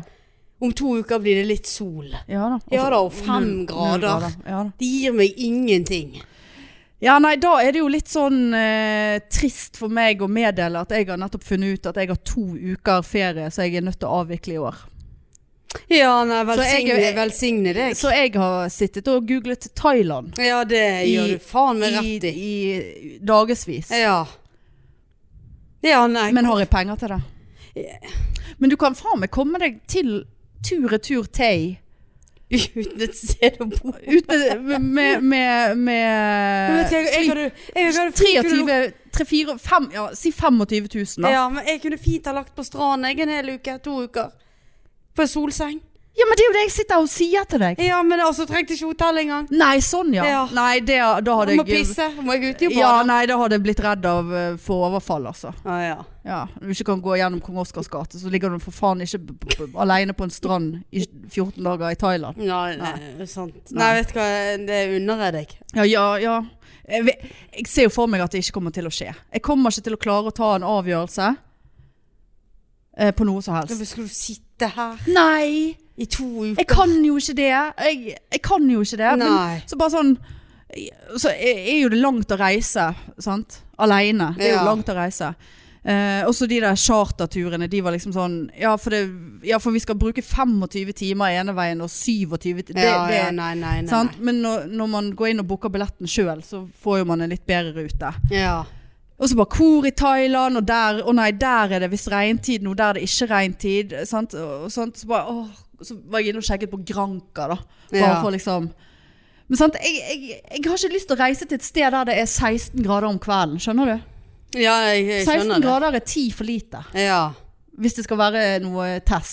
Speaker 2: Om to uker blir det litt sol.
Speaker 1: Ja da.
Speaker 2: Ja
Speaker 1: Altså,
Speaker 2: da, og fem
Speaker 1: null- null
Speaker 2: grader.
Speaker 1: Ja, da.
Speaker 2: Det gir meg ingenting.
Speaker 1: ja, nei, da er det jo litt sånn eh, trist for meg å meddele at jeg har nettopp funnet ut at jeg har to uker ferie så jeg er nødt til å avvikle i år.
Speaker 2: Ja, nei,
Speaker 1: velsigne-
Speaker 2: velsigne, velsigne deg.
Speaker 1: Så jeg har sittet og googlet Thailand
Speaker 2: ja, det gjør du faen meg
Speaker 1: i,
Speaker 2: rett i.
Speaker 1: i dagevis.
Speaker 2: Ja. Ja, nei.
Speaker 1: Men har jeg penger til det? Men du kan faen meg komme deg til tur-retur Tay
Speaker 2: Uten et sted å bo.
Speaker 1: uten med, med,
Speaker 2: Men vet
Speaker 1: med
Speaker 2: du, jeg, jeg,
Speaker 1: fly-
Speaker 2: hadde, jeg, hadde fint kunne,
Speaker 1: 23 3, 4, 5, ja, Si 25 000 da.
Speaker 2: ja, men jeg kunne fint ha lagt på stranden jeg en hel uke, to uker. På en solseng.
Speaker 1: Ja, men det er jo det jeg sitter og sier til deg.
Speaker 2: Ja, men altså, trengte ikke hotell engang.
Speaker 1: Nei, sånn ja.
Speaker 2: Ja.
Speaker 1: Nei, det, da hadde
Speaker 2: Må
Speaker 1: jeg
Speaker 2: pisse, må jeg ut i
Speaker 1: Ja,
Speaker 2: badet?
Speaker 1: nei, da hadde jeg blitt redd av eh, for overfall, altså.
Speaker 2: Ja, Ah, ja.
Speaker 1: Ja, Når du ikke kan gå gjennom Kong Oscars gate, så ligger du for faen ikke b- b- b- alene på en strand i 14 dager i Thailand.
Speaker 2: Nei, nei, sant. Nei, vet du hva, det unner jeg deg.
Speaker 1: Ja, ja, ja. Jeg, ve- jeg ser jo for meg at det ikke kommer til å skje. Jeg kommer ikke til å klare å ta en avgjørelse eh, på noe som helst.
Speaker 2: Hvorfor skal du sitte her?
Speaker 1: Nei!
Speaker 2: i to uker.
Speaker 1: Jeg kan jo ikke det. Jeg, jeg kan jo ikke det.
Speaker 2: Nei.
Speaker 1: Men så bare sånn Så er er jo det langt å reise, sant? Aleine. Det er jo
Speaker 2: Ja.
Speaker 1: langt å reise. Eh, også de der charterturene, de var liksom sånn ja for, det, ja, for vi skal bruke 25 timer ene veien og 27 ti- det,
Speaker 2: ja,
Speaker 1: det,
Speaker 2: ja, nei, nei, nei.
Speaker 1: sant? Men når, når man går inn og booker billetten sjøl, så får jo man en litt bedre rute.
Speaker 2: nei. Ja.
Speaker 1: Og så bare hvor i Thailand, og der, å nei, der er det visst regntid nå, der er det ikke regntid. Sant? Og, og sånt, så, bare, åh, så var jeg inne og sjekket på Granka, da. Bare
Speaker 2: Ja.
Speaker 1: for liksom Men sant, jeg, jeg, jeg har ikke lyst til å reise til et sted der det er 16 grader om kvelden, skjønner du?
Speaker 2: Ja, jeg, jeg
Speaker 1: 16
Speaker 2: skjønner det.
Speaker 1: grader er 10 for lite,
Speaker 2: Ja.
Speaker 1: hvis det skal være noe tess.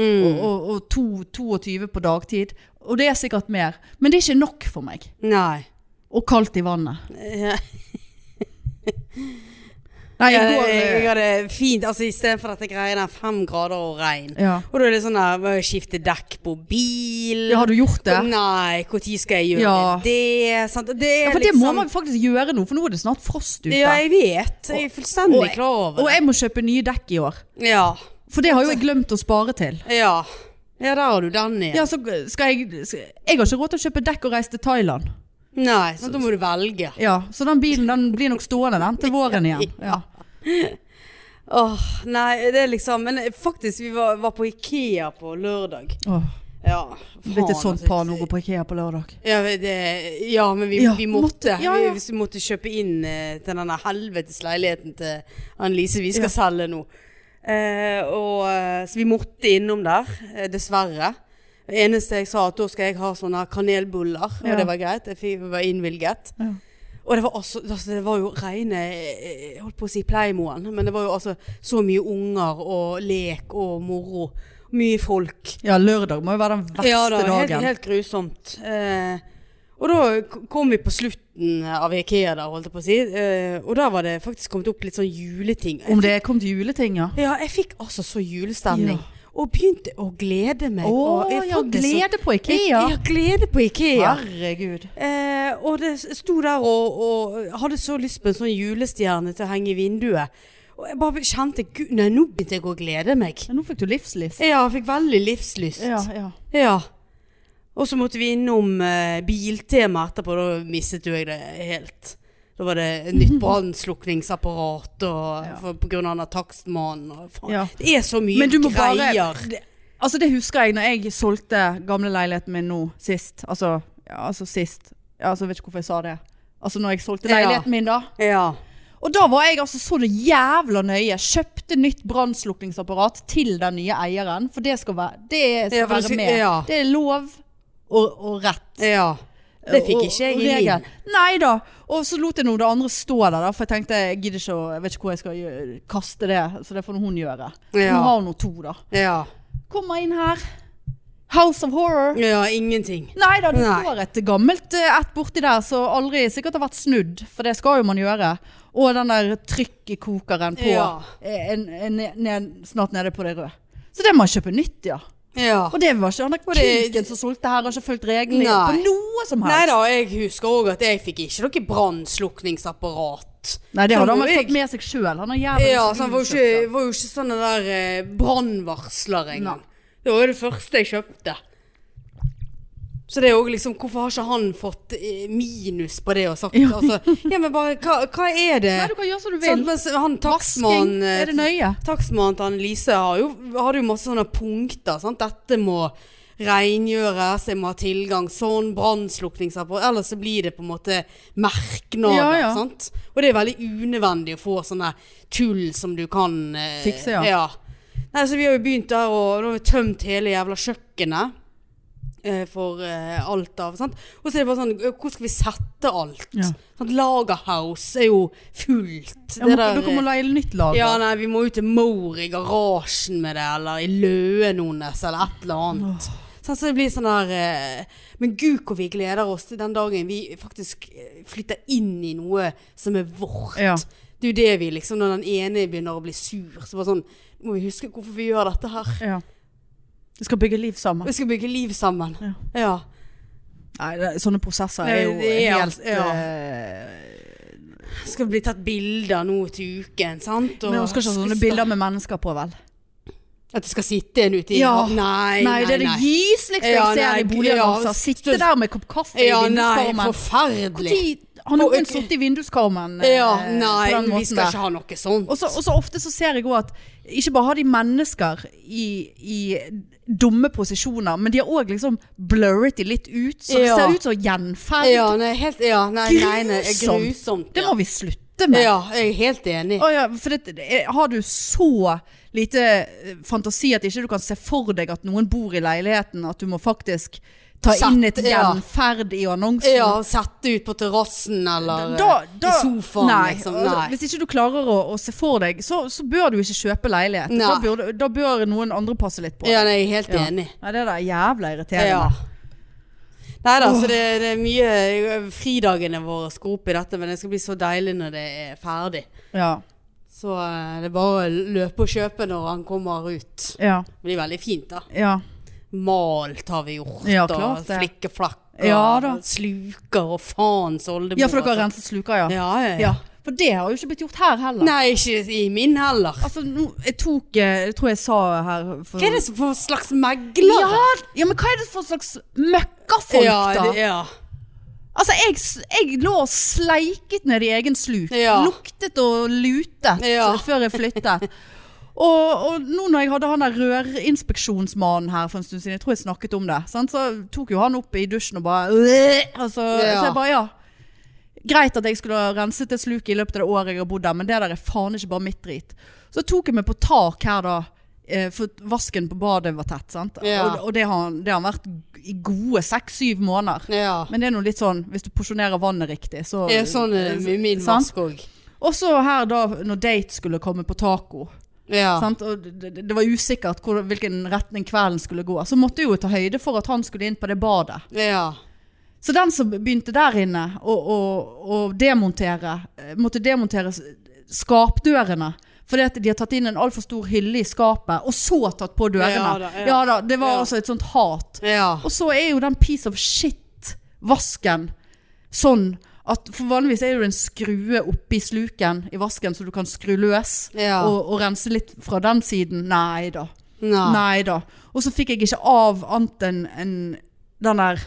Speaker 2: Mm.
Speaker 1: Og, og, og to, 22 på dagtid. Og det er sikkert mer. Men det er ikke nok for meg.
Speaker 2: Nei.
Speaker 1: Og kaldt i vannet.
Speaker 2: Ja,
Speaker 1: Nei, i
Speaker 2: jeg,
Speaker 1: går
Speaker 2: jeg
Speaker 1: eh,
Speaker 2: hadde fint, altså istedenfor dette greiet der, fem grader og regn.
Speaker 1: eh, ja.
Speaker 2: Og da er det sånn der, må jeg skifte dekk på bil.
Speaker 1: ja, har du gjort
Speaker 2: Sånn,
Speaker 1: det?
Speaker 2: eh, Nei, når skal jeg gjøre
Speaker 1: Ja.
Speaker 2: det? Sant? Det er
Speaker 1: Ja, for det
Speaker 2: liksom,
Speaker 1: må man faktisk gjøre nå, for nå er det snart frost ute.
Speaker 2: Ja, jeg vet. Jeg er fullstendig
Speaker 1: Og-
Speaker 2: klar over det.
Speaker 1: og
Speaker 2: Altså-
Speaker 1: jeg må kjøpe nye dekk i år.
Speaker 2: Ja.
Speaker 1: For det har jo jeg glemt å spare til.
Speaker 2: Ja. Ja, der har du den igjen.
Speaker 1: Ja, så skal jeg skal- Jeg har ikke råd til å kjøpe dekk og reise til Thailand.
Speaker 2: Nei, sånn, da må du velge.
Speaker 1: Ja, Så den bilen den blir nok stående den til våren igjen. Ja.
Speaker 2: Åh, nei, det er liksom Men faktisk, vi var, var på Ikea på lørdag.
Speaker 1: Åh,
Speaker 2: Ja.
Speaker 1: blitt
Speaker 2: faen,
Speaker 1: et
Speaker 2: altså,
Speaker 1: sånt par nå å gå på Ikea på lørdag.
Speaker 2: Ja, men det, ja men vi,
Speaker 1: Ja,
Speaker 2: vi måtte.
Speaker 1: måtte- ja, ja.
Speaker 2: Vi, hvis vi måtte kjøpe inn eh, til denne helvetes leiligheten til Annelise vi skal
Speaker 1: Ja.
Speaker 2: selge nå. Eh, og, eh, så vi måtte innom der, eh, dessverre. Det eneste jeg sa, at da skal jeg ha sånne kanelboller,
Speaker 1: Ja.
Speaker 2: og det var greit. Jeg fikk, var innvilget.
Speaker 1: Ja.
Speaker 2: Og det var, altså, altså, det var jo reine eh, Jeg holdt på å si pleiemoen, men det var jo altså så mye unger og lek og moro. Mye folk
Speaker 1: Ja, lørdag må jo være den verste
Speaker 2: helt,
Speaker 1: dagen.
Speaker 2: helt grusomt. Eh, og da k- kom vi på slutten av Ikea der, holdt jeg på å si. Eh, og der var det faktisk kommet opp litt sånn juleting. Jeg
Speaker 1: Om
Speaker 2: fikk,
Speaker 1: det kom til juleting, ja.
Speaker 2: Ja, jeg fikk altså så julestemning.
Speaker 1: Ja.
Speaker 2: Og begynte å glede meg.
Speaker 1: Å,
Speaker 2: og jeg
Speaker 1: ja,
Speaker 2: faktisk så-
Speaker 1: glede på
Speaker 2: Jeg-
Speaker 1: Ikea.
Speaker 2: Ja, glede på Ikea.
Speaker 1: Herregud.
Speaker 2: Eh, og det s- sto der og, og hadde så lyst på en sånn julestjerne til å henge i vinduet. Og jeg bare kjente, gud, nei, nå begynte jeg å glede meg.
Speaker 1: Ja, nå fikk du livslyst.
Speaker 2: Ja, jeg fikk veldig livslyst.
Speaker 1: Ja, ja.
Speaker 2: Ja. Og så måtte vi innom eh, biltema etterpå, da mistet jo jeg det helt. Da var det nytt brannslukningsapparat og
Speaker 1: Ja.
Speaker 2: for, på grunn av den der takstmannen og faen.
Speaker 1: Ja.
Speaker 2: Det er så mye
Speaker 1: Men du må bare-
Speaker 2: greier.
Speaker 1: Altså det husker jeg når jeg solgte gamle leiligheten min nå sist. Altså, ja, altså sist. Ja, altså, jeg vet ikke hvorfor jeg sa det. Altså når jeg solgte
Speaker 2: Ja.
Speaker 1: leiligheten min da.
Speaker 2: Ja.
Speaker 1: Og da var jeg altså så det jævla nøye. Kjøpte nytt brannslukningsapparat til den nye eieren. For det skal være, det skal
Speaker 2: Ja, for det
Speaker 1: være
Speaker 2: skal-
Speaker 1: med.
Speaker 2: ja.
Speaker 1: Det er lov og, og rett.
Speaker 2: ja. Det fikk
Speaker 1: Og-
Speaker 2: ikke jeg
Speaker 1: og
Speaker 2: i
Speaker 1: regel.
Speaker 2: min.
Speaker 1: Nei da. Og så lot jeg noe det andre stå der, da, for jeg tenkte jeg gidder ikke å Jeg vet ikke hvor jeg skal gjø- kaste det, så det får nå hun gjøre.
Speaker 2: Ja.
Speaker 1: Hun har nå to, da.
Speaker 2: Ja.
Speaker 1: Kommer inn her. House of Horror.
Speaker 2: ja, ingenting.
Speaker 1: Nei da, det
Speaker 2: Nei.
Speaker 1: står et gammelt eh, ett borti der som aldri sikkert har vært snudd, for det skal jo man gjøre. Og den der trykkokeren på
Speaker 2: Ja.
Speaker 1: eh, en, en, ned, snart nede på det røde. Så det må jeg kjøpe nytt, ja.
Speaker 2: Ja.
Speaker 1: Og det var ikke han der
Speaker 2: det-
Speaker 1: kuken som solgte her, har ikke fulgt reglene på
Speaker 2: Nei.
Speaker 1: noe som
Speaker 2: Nei
Speaker 1: helst.
Speaker 2: da, jeg husker òg at jeg fikk ikke noe brannslukningsapparat.
Speaker 1: Nei, det
Speaker 2: Så
Speaker 1: hadde han
Speaker 2: hvor
Speaker 1: vel
Speaker 2: jeg-
Speaker 1: tatt med seg sjøl. Han har jævlig
Speaker 2: Ja, så
Speaker 1: skru
Speaker 2: han var jo
Speaker 1: kjøpt,
Speaker 2: ikke, var jo ikke sånn den der eh, brannvarsler engang.
Speaker 1: Nei.
Speaker 2: Det var jo det første jeg kjøpte. Så det er jo liksom, hvorfor har ikke han fått eh, minus på det og sagt ja. altså, Ja, men bare, hva, hva er det?
Speaker 1: da. Nei, du kan gjøre som du
Speaker 2: Sånn,
Speaker 1: vil.
Speaker 2: mens han
Speaker 1: Vasking,
Speaker 2: takstmannen
Speaker 1: er det
Speaker 2: eh,
Speaker 1: nøye?
Speaker 2: Takstmannen til Annelise har jo, hadde jo masse sånne punkter. Sant? Dette må rengjøres, jeg må ha tilgang sånn, brannslukningsapparat. Ellers så blir det på en måte merknader.
Speaker 1: Ja, ja.
Speaker 2: Sant? Og det er veldig unødvendig å få sånne tull som du kan eh,
Speaker 1: Fikse, ja.
Speaker 2: Nei, så vi har jo begynt der, og nå har vi tømt hele jævla kjøkkenet. eh, For eh, alt av sant? Og så er det bare sånn eh, Hvor skal vi sette alt?
Speaker 1: Ja.
Speaker 2: Sant? Lagerhouse er jo fullt.
Speaker 1: Ja, må, dere må leie nytt lager.
Speaker 2: eh, Ja, nei, vi må ut til Mor i garasjen med det, eller i løen hennes, eller et eller annet. Sånn, så det blir sånn der eh, Men gud hvor vi gleder oss til den dagen vi faktisk eh, flytter inn i noe som er vårt.
Speaker 1: Ja.
Speaker 2: Det er jo det vi liksom Når den ene begynner å bli sur, så bare sånn Må vi huske hvorfor vi gjør dette her?
Speaker 1: Ja. Vi skal bygge liv sammen.
Speaker 2: Vi skal bygge liv sammen.
Speaker 1: Ja.
Speaker 2: ja.
Speaker 1: Nei, det, sånne prosesser er jo
Speaker 2: Nei, det er
Speaker 1: helt
Speaker 2: alt- ja.
Speaker 1: eh,
Speaker 2: Skal bli tatt bilder nå til uken, sant?
Speaker 1: Men hun skal ikke ha sånne bilder med mennesker på, vel?
Speaker 2: At det skal sitte en ute i
Speaker 1: Ja.
Speaker 2: Nei,
Speaker 1: Nei, det er det gis, liksom.
Speaker 2: Ja,
Speaker 1: jeg ser
Speaker 2: nei,
Speaker 1: det i boligannonser.
Speaker 2: ja,
Speaker 1: Sitte der med kopp kaffe i
Speaker 2: Ja, nei,
Speaker 1: vinduskarmen.
Speaker 2: forferdelig.
Speaker 1: Når har
Speaker 2: På-
Speaker 1: noen sittet i vinduskarmen eh,
Speaker 2: Ja, nei,
Speaker 1: på den
Speaker 2: vi
Speaker 1: måten
Speaker 2: skal
Speaker 1: der?
Speaker 2: ikke ha noe sånt.
Speaker 1: Og så, og så ofte så ser jeg òg at ikke bare har de mennesker i, i dumme posisjoner, men de har òg liksom blurret de litt ut, så det
Speaker 2: Ja.
Speaker 1: ser ut som gjenferd.
Speaker 2: ja, nei, helt, ja, nei, nei, nei,
Speaker 1: Grusomt.
Speaker 2: grusomt.
Speaker 1: Det
Speaker 2: ja.
Speaker 1: må vi slutte med.
Speaker 2: Ja, jeg er helt enig.
Speaker 1: Å ja, for det, det- eh, har du så lite eh, fantasi at ikke du kan se for deg at noen bor i leiligheten, at du må faktisk ta
Speaker 2: Sett,
Speaker 1: inn et
Speaker 2: ja.
Speaker 1: gjenferd i annonsen?
Speaker 2: Ja, sette ut på terrassen eller
Speaker 1: Da,
Speaker 2: eh,
Speaker 1: da,
Speaker 2: i sofaen,
Speaker 1: nei,
Speaker 2: liksom.
Speaker 1: altså,
Speaker 2: Nei.
Speaker 1: Hvis ikke du klarer å, å se for deg, så, så bør du ikke kjøpe leilighet.
Speaker 2: Nei.
Speaker 1: Da bør, du- da bør noen andre passe litt på.
Speaker 2: Ja, nei, jeg er helt
Speaker 1: Ja.
Speaker 2: enig.
Speaker 1: Nei, det der er jævla irriterende.
Speaker 2: Ja. Nei da, så det, det er mye eh, Fridagene våre skal opp i dette, men det skal bli så deilig når det er ferdig.
Speaker 1: Ja.
Speaker 2: Så eh, det er bare å løpe og kjøpe når han kommer ut.
Speaker 1: Ja.
Speaker 2: Det blir veldig fint, da.
Speaker 1: Ja.
Speaker 2: Malt har vi gjort,
Speaker 1: Ja,
Speaker 2: og
Speaker 1: klart det.
Speaker 2: flikkeflakk, og
Speaker 1: Ja, da.
Speaker 2: sluker og faens oldemor.
Speaker 1: ja, for dere har
Speaker 2: altså.
Speaker 1: renset sluker, ja.
Speaker 2: Ja, ja, ja.
Speaker 1: ja. For det har jo ikke blitt gjort her heller.
Speaker 2: Nei, ikke i min heller.
Speaker 1: Altså, nå, jeg tok eh, Jeg tror jeg sa her for,
Speaker 2: Hva er det som- for slags megler?
Speaker 1: Ja, ja, men hva er det for slags møkkafolk, da?
Speaker 2: det- ja.
Speaker 1: Altså, jeg, s- jeg lå og sleiket ned i egen sluk.
Speaker 2: Ja.
Speaker 1: Luktet og lutet
Speaker 2: Ja.
Speaker 1: før jeg flyttet. Og, og nå når jeg hadde han der rørinspeksjonsmannen her for en stund siden, jeg tror jeg snakket om det, sant? så tok jo han opp i dusjen og bare «Øh», altså,
Speaker 2: Ja.
Speaker 1: Så jeg bare ja. Greit at jeg skulle ha renset det sluket i løpet av det året jeg har bodd der, men det der er faen ikke bare mitt drit. Så tok jeg meg på tak her da, eh, for vasken på badet var tett, sant?
Speaker 2: Ja.
Speaker 1: Og, og det, har, han- det har han vært i gode seks-syv måneder.
Speaker 2: Ja.
Speaker 1: Men det er noe litt sånn, hvis du porsjonerer vannet riktig, så
Speaker 2: Ja, sånn er det med min
Speaker 1: Sant?
Speaker 2: vask òg.
Speaker 1: Og så her da, når date skulle komme på taco,
Speaker 2: Ja.
Speaker 1: sant? og det, det- det var usikkert hvor, hvilken retning kvelden skulle gå, så måtte jeg jo ta høyde for at han skulle inn på det badet.
Speaker 2: ja.
Speaker 1: Så den som begynte der inne å, å, å demontere, eh, måtte demontere s- skapdørene. Fordi at de har tatt inn en altfor stor hylle i skapet, og så tatt på dørene.
Speaker 2: Ja da, ja.
Speaker 1: da det var
Speaker 2: Ja.
Speaker 1: altså et sånt hat.
Speaker 2: Ja.
Speaker 1: Og så er jo den piece of shit-vasken sånn at For vanligvis er det jo en skrue oppi sluken i vasken, så du kan skru løs
Speaker 2: Ja.
Speaker 1: og, og rense litt fra den siden. Nei da.
Speaker 2: Nei.
Speaker 1: Nei da. Og så fikk jeg ikke av annet enn enn den der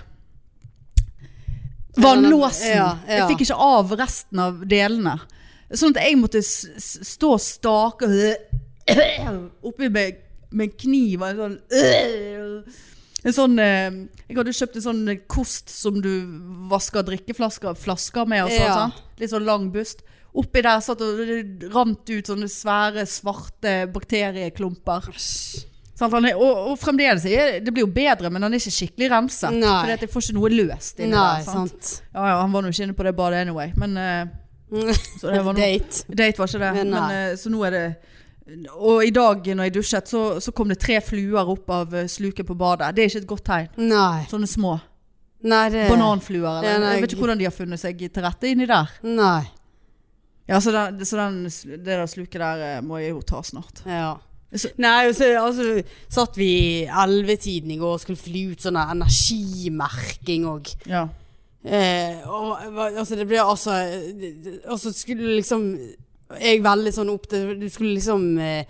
Speaker 1: Vannlåsen.
Speaker 2: Ja, ja.
Speaker 1: Jeg fikk ikke av resten av delene. Sånn at jeg måtte s- s- stå og stake oppi med, med kniv og en sånn En sånn eh, Jeg hadde kjøpt en sånn kost som du vasker drikkeflasker flasker med og sånn.
Speaker 2: Ja.
Speaker 1: Sant? Litt sånn lang bust. Oppi der satt og det rant ut sånne svære, svarte bakterieklumper. Sant? Han er, og, og fremdeles er det blir jo bedre, men han er ikke skikkelig renset.
Speaker 2: Nei.
Speaker 1: Fordi at jeg får ikke noe løst inni
Speaker 2: Nei,
Speaker 1: der. Sant?
Speaker 2: sant.
Speaker 1: Ja, ja, han var nå ikke inne på det badet anyway. Men eh, så det var noe
Speaker 2: Date.
Speaker 1: Date var ikke det.
Speaker 2: Men
Speaker 1: Men,
Speaker 2: nei.
Speaker 1: eh, så nå er det Og i dag når jeg dusjet, så, så kom det tre fluer opp av eh, sluket på badet. Det er ikke et godt tegn.
Speaker 2: Nei.
Speaker 1: Sånne små.
Speaker 2: Nei, det
Speaker 1: Bananfluer. Eller,
Speaker 2: Ja, nei,
Speaker 1: jeg vet ikke hvordan de har funnet seg til rette inni der.
Speaker 2: Nei.
Speaker 1: Ja, Så, den, så den, det der sluket der eh, må jeg jo ta snart.
Speaker 2: Ja.
Speaker 1: Så-
Speaker 2: Nei, og så altså, satt vi i ellevetiden i går og skulle fly ut sånn energimerking òg.
Speaker 1: Ja.
Speaker 2: Eh, og altså, det ble altså det- det- Og så skulle du liksom Jeg veldig sånn opp til Du skulle liksom eh,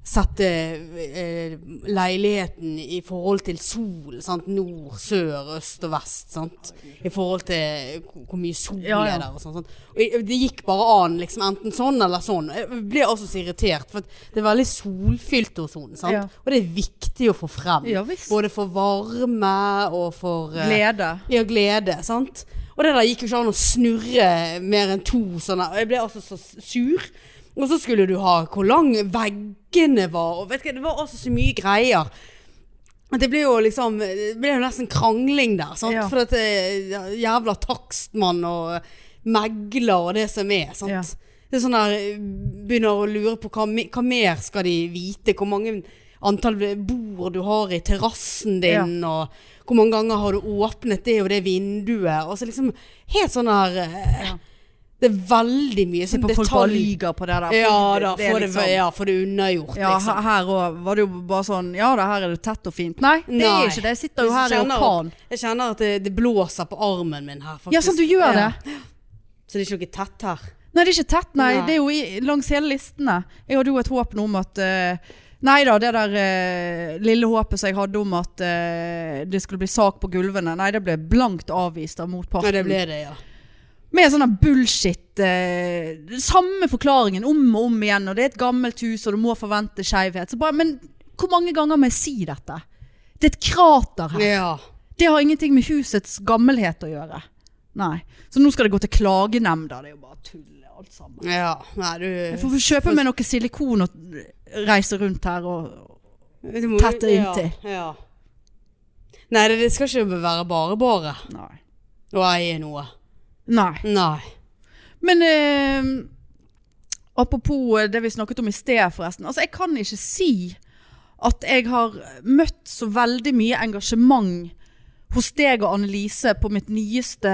Speaker 2: sette eh, leiligheten i forhold til sol. Sant? Nord, sør, øst og vest. Sant? I forhold til hvor- hvor mye sol
Speaker 1: Ja, ja.
Speaker 2: er der og sånn. sant? Og jeg- det gikk bare an, liksom. Enten sånn eller sånn. Jeg ble altså så irritert, for at det er veldig solfylt hos henne. sant?
Speaker 1: Ja.
Speaker 2: Og det er viktig å få frem.
Speaker 1: Ja, visst.
Speaker 2: Både for varme og for eh,
Speaker 1: Glede.
Speaker 2: ja, glede, sant? Og det der gikk jo ikke an å snurre mer enn to sånne. Og jeg ble altså så sur. Og så skulle du ha hvor lang veggene var, og vet ikke, det var altså så mye greier. At Det ble jo liksom Det ble jo nesten krangling der, sant?
Speaker 1: Ja.
Speaker 2: For at eh, jævla takstmann og megler og det som er, sant?
Speaker 1: Ja.
Speaker 2: Det er sånn der eh, Begynner å lure på hva, me- hva mer skal de vite? Hvor mange antall bord du har i terrassen din, og hvor mange ganger har du åpnet det og det vinduet? Og så liksom Helt sånn der eh,
Speaker 1: Ja.
Speaker 2: Det er veldig mye
Speaker 1: Se
Speaker 2: sånn
Speaker 1: på folk bare
Speaker 2: detalj.
Speaker 1: lyver på det der.
Speaker 2: Ja
Speaker 1: Folk-
Speaker 2: da,
Speaker 1: det er
Speaker 2: få det,
Speaker 1: liksom-
Speaker 2: ja, få det unnagjort,
Speaker 1: Ja,
Speaker 2: liksom.
Speaker 1: her- her òg var det jo bare sånn Ja da, her er det tett og fint. Nei, det
Speaker 2: Nei.
Speaker 1: er ikke det. Jeg sitter jo
Speaker 2: Jeg
Speaker 1: her i
Speaker 2: kjenner-
Speaker 1: orkan.
Speaker 2: Jeg kjenner at det, det blåser på armen min her, faktisk.
Speaker 1: Ja, sant, du
Speaker 2: Ja.
Speaker 1: gjør det.
Speaker 2: Så det er ikke noe tett her.
Speaker 1: Nei, det er ikke tett, nei.
Speaker 2: Nei.
Speaker 1: Det er jo i, langs hele listene. Jeg hadde jo et håp nå om at eh, Nei da, det der eh, lille håpet som jeg hadde om at eh, det skulle bli sak på gulvene, nei, det ble blankt avvist av motparten.
Speaker 2: Ja, det ble det, ja.
Speaker 1: Med sånne bullshit eh, Samme forklaringen om og om igjen Og det er et gammelt hus og du må forvente skjevhet bare, Men hvor mange ganger må jeg si dette? Det er et krater her
Speaker 2: Ja.
Speaker 1: Det har ingenting med husets gammelhet å gjøre Nei Så nå skal det gå til klagenemnda Det er jo bare tull alt sammen
Speaker 2: ja. Nei, du
Speaker 1: Jeg får få kjøpe meg noe silikon og reise rundt her og,
Speaker 2: du må-
Speaker 1: tette inntil.
Speaker 2: Ja. ja. Nei, det, det skal ikke være bare bare
Speaker 1: Nei
Speaker 2: å eie noe.
Speaker 1: Nei
Speaker 2: Nei.
Speaker 1: Men eh, apropos eh, det vi snakket om i sted forresten. Altså, jeg kan ikke si at jeg har møtt så veldig mye engasjement hos deg og Annelise på mitt nyeste,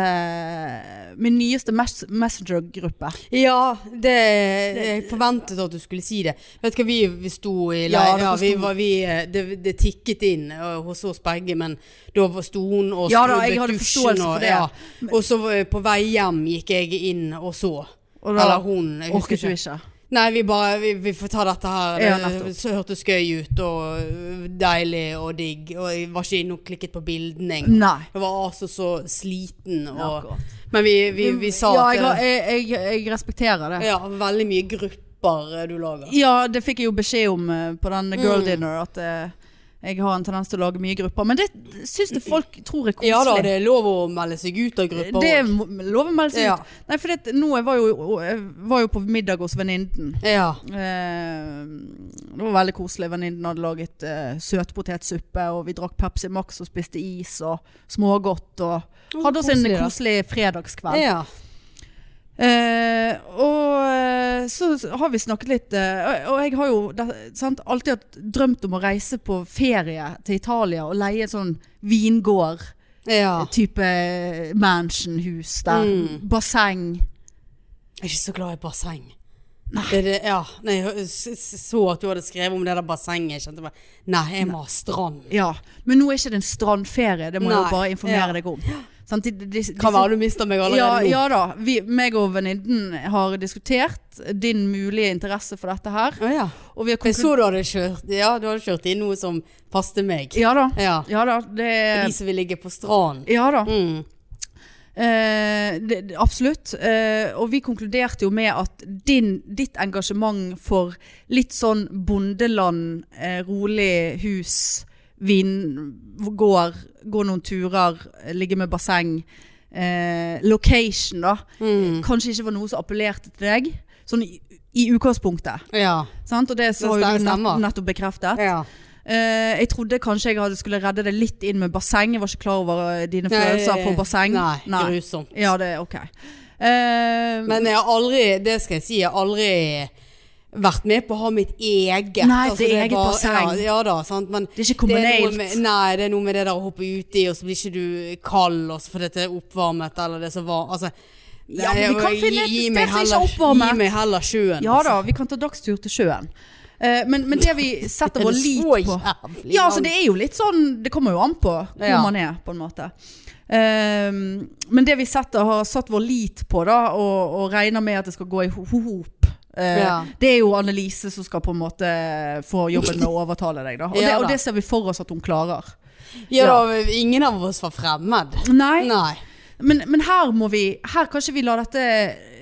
Speaker 1: min nyeste mes messenger-gruppe.
Speaker 2: Ja, det Jeg forventet at du skulle si det. Vet du hva, vi, vi sto i
Speaker 1: Ja,
Speaker 2: leir- ja,
Speaker 1: dere
Speaker 2: vi
Speaker 1: sto.
Speaker 2: var- vi, eh, det, det tikket inn eh, hos oss begge, men da var- sto hun og
Speaker 1: Ja da, jeg
Speaker 2: skrubbet
Speaker 1: hadde
Speaker 2: dusjen
Speaker 1: forståelse for
Speaker 2: og-
Speaker 1: det.
Speaker 2: Ja. Og så eh, på vei hjem gikk jeg inn og så.
Speaker 1: Og da
Speaker 2: Eller hun. Jeg husker
Speaker 1: orket du
Speaker 2: ikke.
Speaker 1: ikke.
Speaker 2: Nei, vi bare Vi, vi får ta dette her.
Speaker 1: Ja,
Speaker 2: Det-
Speaker 1: nettopp.
Speaker 2: så hørtes gøy ut og øh, deilig og digg. Og jeg var ikke inne og klikket på bildene engang.
Speaker 1: Nei.
Speaker 2: Jeg var altså så sliten og
Speaker 1: Akkurat.
Speaker 2: Men vi, vi, vi sa
Speaker 1: ja,
Speaker 2: at
Speaker 1: jeg, har-
Speaker 2: det-
Speaker 1: jeg, jeg, jeg respekterer det.
Speaker 2: Ja, veldig mye grupper eh, du lager.
Speaker 1: Ja, det fikk jeg jo beskjed om eh, på den girl dinner, at eh, jeg har en tendens til å lage mye grupper. Men det syns det folk tror er koselig.
Speaker 2: Ja da, det er lov å melde seg ut av grupper
Speaker 1: Det
Speaker 2: òg.
Speaker 1: må- lover meg altså
Speaker 2: Ja.
Speaker 1: ut. Nei, for det, nå jeg var jo, jeg var jo på middag hos venninnen.
Speaker 2: Ja.
Speaker 1: Eh, det var veldig koselig. Venninnen hadde laget eh, søtpotetsuppe, og vi drakk Pepsi Max og spiste is og smågodt. Og hadde oss en
Speaker 2: koselig, da.
Speaker 1: koselig fredagskveld.
Speaker 2: ja.
Speaker 1: Eh, og eh, så har vi snakket litt eh, Og og jeg har jo det- sant, alltid hatt drømt om å reise på ferie til Italia og leie en sånn vingård
Speaker 2: ja.
Speaker 1: type mansionhus der.
Speaker 2: Mm.
Speaker 1: Basseng.
Speaker 2: Jeg er ikke så glad i basseng. Det, er det, ja. Nei, jeg hø- s- s- så at du hadde skrevet om det der bassenget. Jeg kjente bare Nei, jeg må ha strand.
Speaker 1: Ja. Men nå er ikke det en strandferie, det må jeg
Speaker 2: Nei,
Speaker 1: jo bare informere
Speaker 2: ja.
Speaker 1: deg om. Sant, de, de, de,
Speaker 2: Kan være du mister meg allerede
Speaker 1: ja,
Speaker 2: nå.
Speaker 1: ja da. Vi, meg og venninnen har diskutert din mulige interesse for dette her.
Speaker 2: Å ja.
Speaker 1: Og vi har
Speaker 2: Jeg
Speaker 1: konkludert
Speaker 2: så du hadde kjørt Ja, du hadde kjørt inn noe som passte meg.
Speaker 1: Ja da.
Speaker 2: Ja.
Speaker 1: Ja da. Det,
Speaker 2: For de som vil ligge på stranden.
Speaker 1: ja da.
Speaker 2: Mm.
Speaker 1: Eh, det, det- absolutt. Eh, og vi konkluderte jo med at din, ditt engasjement for litt sånn bondeland, eh, rolig hus, vingård, gå noen turer, ligge med basseng, eh, location da,
Speaker 2: Mm.
Speaker 1: kanskje ikke var noe som appellerte til deg, sånn i, i utgangspunktet.
Speaker 2: Ja.
Speaker 1: Sant? Og det så
Speaker 2: Det
Speaker 1: har jo du nett,
Speaker 2: stemmer.
Speaker 1: nettopp bekreftet.
Speaker 2: ja.
Speaker 1: Eh, jeg trodde kanskje jeg hadde skulle redde det litt inn med basseng, jeg var ikke klar over eh, dine følelser for basseng.
Speaker 2: Nei, grusomt.
Speaker 1: Ja, det er ok. Eh,
Speaker 2: Men jeg har aldri, det skal jeg si, jeg har aldri vært med på å ha mitt eget.
Speaker 1: Nei, for
Speaker 2: er
Speaker 1: eget basseng.
Speaker 2: Ja, ja da, sant. Men
Speaker 1: det er ikke
Speaker 2: det er
Speaker 1: kommunalt.
Speaker 2: noe med, nei, det er noe med det der å hoppe uti, og så blir ikke du kald og så fordi det er oppvarmet, eller det som var Altså.
Speaker 1: Ja, men
Speaker 2: nei,
Speaker 1: vi kan
Speaker 2: gi-
Speaker 1: finne et
Speaker 2: gi
Speaker 1: sted
Speaker 2: meg
Speaker 1: som ikke er
Speaker 2: heller-
Speaker 1: oppvarmet.
Speaker 2: Gi meg heller sjøen. altså.
Speaker 1: ja da, vi kan ta dagstur til sjøen. Eh, men, men det vi setter vår lit på Ja, altså det er jo litt sånn Det kommer jo an på hvor
Speaker 2: Ja.
Speaker 1: man er, på en måte. Eh, men det vi setter, har satt vår lit på, da, og, og regner med at det skal gå i ho- hop eh,
Speaker 2: Ja.
Speaker 1: Det er jo Annelise som skal på en måte få jobben med å overtale deg, da. Og,
Speaker 2: Ja da.
Speaker 1: det, og det ser vi for oss at hun klarer.
Speaker 2: Ja, da, ingen av oss var fremmed.
Speaker 1: Nei,
Speaker 2: Nei.
Speaker 1: Men, men her må vi Her kan ikke vi la dette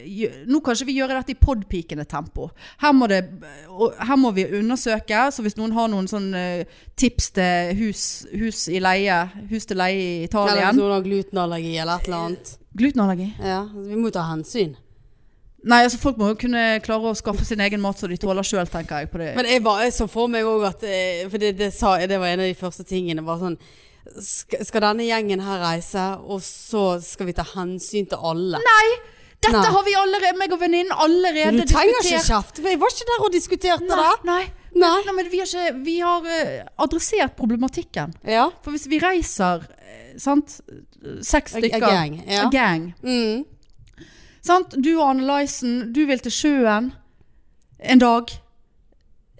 Speaker 1: gjø- Nå kan ikke vi gjøre dette i podpikende tempo. Her må, det, og her må vi undersøke. Så hvis noen har noen sånne tips til hus, hus i leie Hus til leie i
Speaker 2: Eller
Speaker 1: Italia
Speaker 2: hvis noen har glutenallergi eller et eller annet.
Speaker 1: Glutenallergi?
Speaker 2: Ja, vi må ta hensyn.
Speaker 1: Nei, altså folk må jo kunne klare å skaffe sin egen mat så de tåler sjøl, tenker jeg på det.
Speaker 2: Men jeg, var, jeg så for meg òg at eh, For det, det, sa, jeg- det var en av de første tingene. Var sånn skal, skal denne gjengen her reise, og så skal vi ta hensyn til alle? Nei,
Speaker 1: Dette
Speaker 2: Nei.
Speaker 1: har vi allerede, meg og venninnen allerede
Speaker 2: du trenger ikke
Speaker 1: diskutert.
Speaker 2: kjeft. for Jeg var ikke der og diskuterte
Speaker 1: Nei,
Speaker 2: det.
Speaker 1: nei,
Speaker 2: Nei.
Speaker 1: nei, men vi har, ikke, vi har eh, adressert problematikken.
Speaker 2: Ja.
Speaker 1: For hvis vi reiser, eh, sant, seks
Speaker 2: A- a
Speaker 1: stykker
Speaker 2: gang, ja.
Speaker 1: A gang.
Speaker 2: Mm.
Speaker 1: Sant? Du og Annelisen, du vil til sjøen en dag.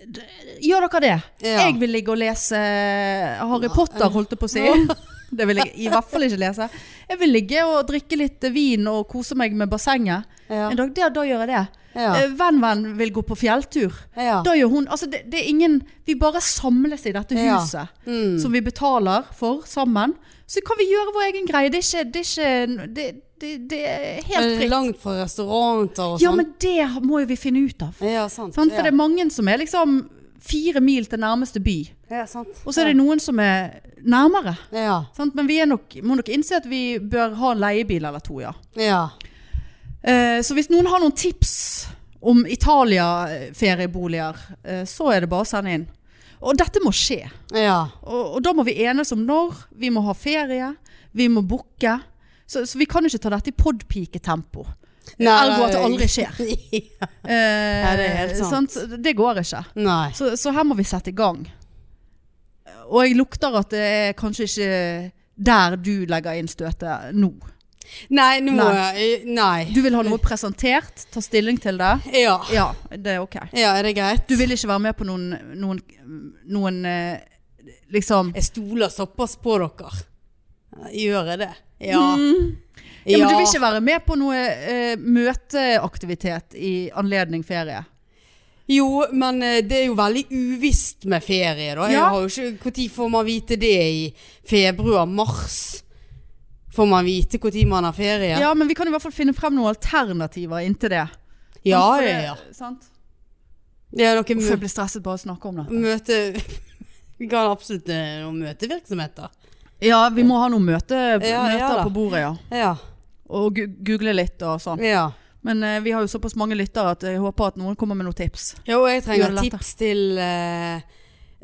Speaker 1: D- Gjør dere det?
Speaker 2: Ja.
Speaker 1: Jeg vil ligge og lese Harry Potter, eh, holdt jeg på å si. Det vil jeg i hvert fall ikke lese. Jeg vil ligge og drikke litt vin og kose meg med bassenget.
Speaker 2: Ja.
Speaker 1: En dag, da, da gjør jeg det.
Speaker 2: Ja.
Speaker 1: Eh, Venn-venn vil gå på fjelltur.
Speaker 2: Ja.
Speaker 1: Da gjør hun Altså, det, det er ingen Vi bare samles i dette
Speaker 2: Ja.
Speaker 1: huset
Speaker 2: Mm.
Speaker 1: som vi betaler for sammen. Så kan vi gjøre vår egen greie. Det er ikke Det er, ikke, det, det, det er helt
Speaker 2: Men
Speaker 1: fritt.
Speaker 2: Langt fra restauranter og sånn.
Speaker 1: Ja, men det må jo vi finne ut av.
Speaker 2: ja, sant.
Speaker 1: Sant? For
Speaker 2: ja.
Speaker 1: det er mange som er liksom fire mil til nærmeste by.
Speaker 2: ja, sant.
Speaker 1: Og så er det noen som er nærmere.
Speaker 2: Ja.
Speaker 1: Sant? Men vi er nok, må nok innse at vi bør ha en leiebil eller to, ja.
Speaker 2: ja.
Speaker 1: Eh, så hvis noen har noen tips om Italia-ferieboliger, eh, så er det bare å sende inn. Og dette må skje.
Speaker 2: Ja.
Speaker 1: Og, og da må vi enes om når. Vi må ha ferie. Vi må booke. Så, så vi kan ikke ta dette i podpiketempo. Ergo at det aldri skjer.
Speaker 2: skjer.
Speaker 1: Eh,
Speaker 2: Ja, det er helt sant.
Speaker 1: sant? Det går ikke.
Speaker 2: Nei.
Speaker 1: Så, så her må vi sette i gang. Og jeg lukter at det er kanskje ikke der du legger inn støtet nå.
Speaker 2: Nei, nå
Speaker 1: Nei.
Speaker 2: eh, Nei.
Speaker 1: Du vil ha noe presentert, ta stilling til det.
Speaker 2: Ja.
Speaker 1: Ja, det er ok.
Speaker 2: ja, er det greit?
Speaker 1: Du vil ikke være med på noen, noen, noen eh, liksom
Speaker 2: Jeg stoler såpass på dere. Gjør jeg det? Ja.
Speaker 1: Mm. ja, men Du vil ikke være med på noe eh, møteaktivitet i anledning ferie?
Speaker 2: Jo, men eh, det er jo veldig uvisst med ferie, da. Jeg
Speaker 1: Ja.
Speaker 2: har jo ikke Når får man vite det? I februar-mars? Får man vite når man har ferie?
Speaker 1: Ja. men vi kan i hvert fall finne frem noen alternativer inntil det.
Speaker 2: ja,
Speaker 1: Sant,
Speaker 2: ja.
Speaker 1: for det-
Speaker 2: ja.
Speaker 1: Sant?
Speaker 2: Det er noe
Speaker 1: Uff,
Speaker 2: mø
Speaker 1: jeg blir stresset bare av å snakke om det.
Speaker 2: møte... Vi kan absolutt eh, noen møtevirksomheter.
Speaker 1: Ja, vi må ha noen møte,
Speaker 2: Ja,
Speaker 1: møter
Speaker 2: ja da.
Speaker 1: på bordet, ja.
Speaker 2: Ja.
Speaker 1: Og gu- google litt og sånn.
Speaker 2: ja.
Speaker 1: Men eh, vi har jo såpass mange lyttere at jeg håper at noen kommer med noen tips.
Speaker 2: Ja, og jeg
Speaker 1: Gjør
Speaker 2: trenger
Speaker 1: det lettere.
Speaker 2: tips til eh,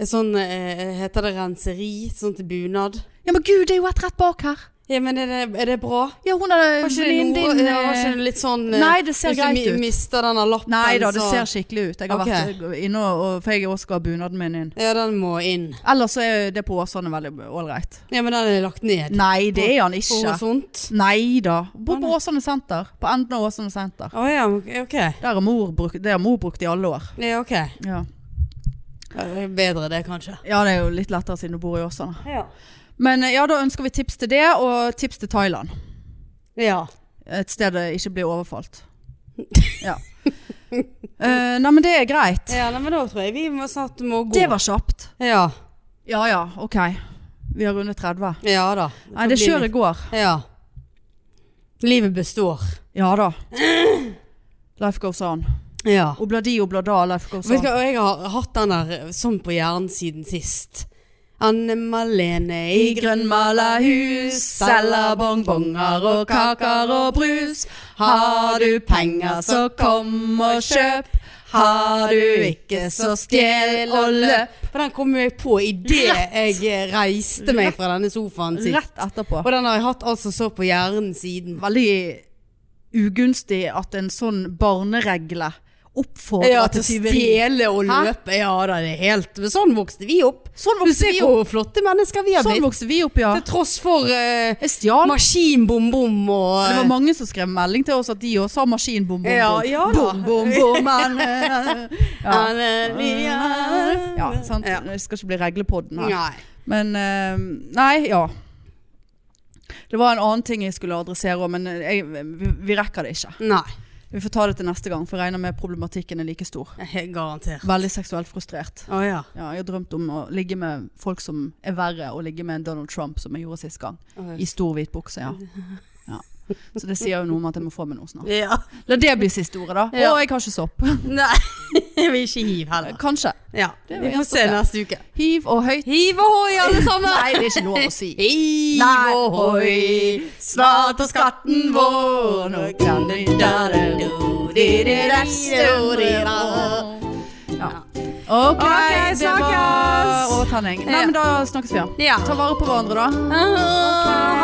Speaker 2: en sånn eh, Heter det renseri? Sånn til bunad?
Speaker 1: Ja, men gud, det er jo et rett bak her.
Speaker 2: Ja, men er det, er det bra?
Speaker 1: Ja, hun er
Speaker 2: Har ikke det
Speaker 1: venninnen
Speaker 2: noe
Speaker 1: din.
Speaker 2: ja, har
Speaker 1: eh,
Speaker 2: ikke det litt sånn eh,
Speaker 1: Nei, det ser
Speaker 2: hvis du
Speaker 1: greit
Speaker 2: mi-
Speaker 1: ut.
Speaker 2: mister denne lappen,
Speaker 1: Nei da, det
Speaker 2: så
Speaker 1: ser skikkelig ut. Jeg har
Speaker 2: Ok.
Speaker 1: vært eh, inne og, og For jeg også skal ha bunaden min inn.
Speaker 2: Ja, den må inn.
Speaker 1: Ellers så er det på Åsane veldig ålreit.
Speaker 2: Ja, men den er lagt ned.
Speaker 1: Nei, det er han
Speaker 2: På
Speaker 1: ikke.
Speaker 2: Horisont.
Speaker 1: Nei da. Bor
Speaker 2: Å,
Speaker 1: på
Speaker 2: nei.
Speaker 1: Åsane senter. På enden av Åsane senter.
Speaker 2: Å ja, ok.
Speaker 1: Der har mor brukt, det har mor brukt i alle år.
Speaker 2: Ja, ok.
Speaker 1: Ja.
Speaker 2: Ja, det er Bedre det, kanskje.
Speaker 1: ja, det er jo litt lettere siden du bor i Åsane.
Speaker 2: Ja.
Speaker 1: Men eh, ja, da ønsker vi tips til det, og tips til Thailand.
Speaker 2: Ja.
Speaker 1: Et sted det ikke blir overfalt. Ja. Eh, nei, men det er greit.
Speaker 2: nei, men da tror jeg vi må snart må gå.
Speaker 1: Det var kjapt.
Speaker 2: Ja.
Speaker 1: Ja ja, ok. Vi har rundet 30.
Speaker 2: Ja da.
Speaker 1: Nei, det
Speaker 2: får bli
Speaker 1: kjøret går.
Speaker 2: litt- Ja. Livet består.
Speaker 1: Ja da. Life goes on.
Speaker 2: Ja.
Speaker 1: Obladi, oblada, life goes
Speaker 2: Vet du
Speaker 1: on.
Speaker 2: hva, og jeg har hatt den der sånn på hjernen siden sist. Anne Malene i grønnmala hus, selger bonbonger og kaker og brus. Har du penger, så kom og kjøp. Har du ikke, så stjel og løp. For den kom jeg på idet jeg reiste meg fra denne sofaen sist.
Speaker 1: Rett etterpå.
Speaker 2: Og den har jeg hatt altså så på hjernen siden.
Speaker 1: Veldig ugunstig at en sånn barneregle oppfordrer
Speaker 2: Ja, til
Speaker 1: til
Speaker 2: å
Speaker 1: tyveri.
Speaker 2: stjele og
Speaker 1: Hæ?
Speaker 2: løpe. Ja da, det er helt Men Sånn vokste vi opp.
Speaker 1: Sånn
Speaker 2: Du
Speaker 1: vokste
Speaker 2: ser
Speaker 1: vi
Speaker 2: hvor flotte mennesker vi har
Speaker 1: Sånn
Speaker 2: blitt.
Speaker 1: vokste vi opp, ja.
Speaker 2: Til tross for eh,
Speaker 1: Jeg stjal.
Speaker 2: maskinbom-bom og
Speaker 1: Det
Speaker 2: eh,
Speaker 1: var mange som skrev melding til oss at de også har maskin bom, bom,
Speaker 2: Ja,
Speaker 1: bom.
Speaker 2: ja da.
Speaker 1: bom, bom, bom, men,
Speaker 2: eh,
Speaker 1: ja.
Speaker 2: Alleluia.
Speaker 1: ja, sant.
Speaker 2: Ja.
Speaker 1: Det skal ikke bli reglepodden her.
Speaker 2: Nei.
Speaker 1: Men eh, Nei, ja. Det var en annen ting jeg skulle adressere òg, men eh, jeg, vi, vi rekker det ikke.
Speaker 2: Nei.
Speaker 1: Vi får ta det til neste gang, for jeg regner med problematikken er like stor.
Speaker 2: Helt Garantert.
Speaker 1: Veldig seksuelt frustrert.
Speaker 2: Å ja.
Speaker 1: Ja, jeg har drømt om å ligge med folk som er verre, og ligge med en Donald Trump som jeg gjorde sist gang. I stor hvit bukse, ja. ja. Så det sier jo noe om at jeg må få meg noe snart.
Speaker 2: ja.
Speaker 1: La det bli siste ordet, da.
Speaker 2: Ja.
Speaker 1: Å, jeg har ikke sopp.
Speaker 2: Nei, jeg vil ikke hiv heller.
Speaker 1: Kanskje.
Speaker 2: Ja,
Speaker 1: Det er
Speaker 2: Vi
Speaker 1: jo
Speaker 2: får
Speaker 1: helt
Speaker 2: se
Speaker 1: ok.
Speaker 2: neste uke.
Speaker 1: Hiv og høyt.
Speaker 2: Hiv ohoi, alle sammen!
Speaker 1: Nei, det er ikke lov å si.
Speaker 2: Hiv
Speaker 1: Nei.
Speaker 2: ohoi, snart er skatten vår. Nå kan du da da do, di di da do, di da.
Speaker 1: Ja. Ok,
Speaker 2: Ok,
Speaker 1: det var
Speaker 2: snakkes!
Speaker 1: overtenning. Nei,
Speaker 2: Ja.
Speaker 1: men da snakkes vi, ja.
Speaker 2: Ja.
Speaker 1: Ta vare på hverandre, da.
Speaker 2: Ah.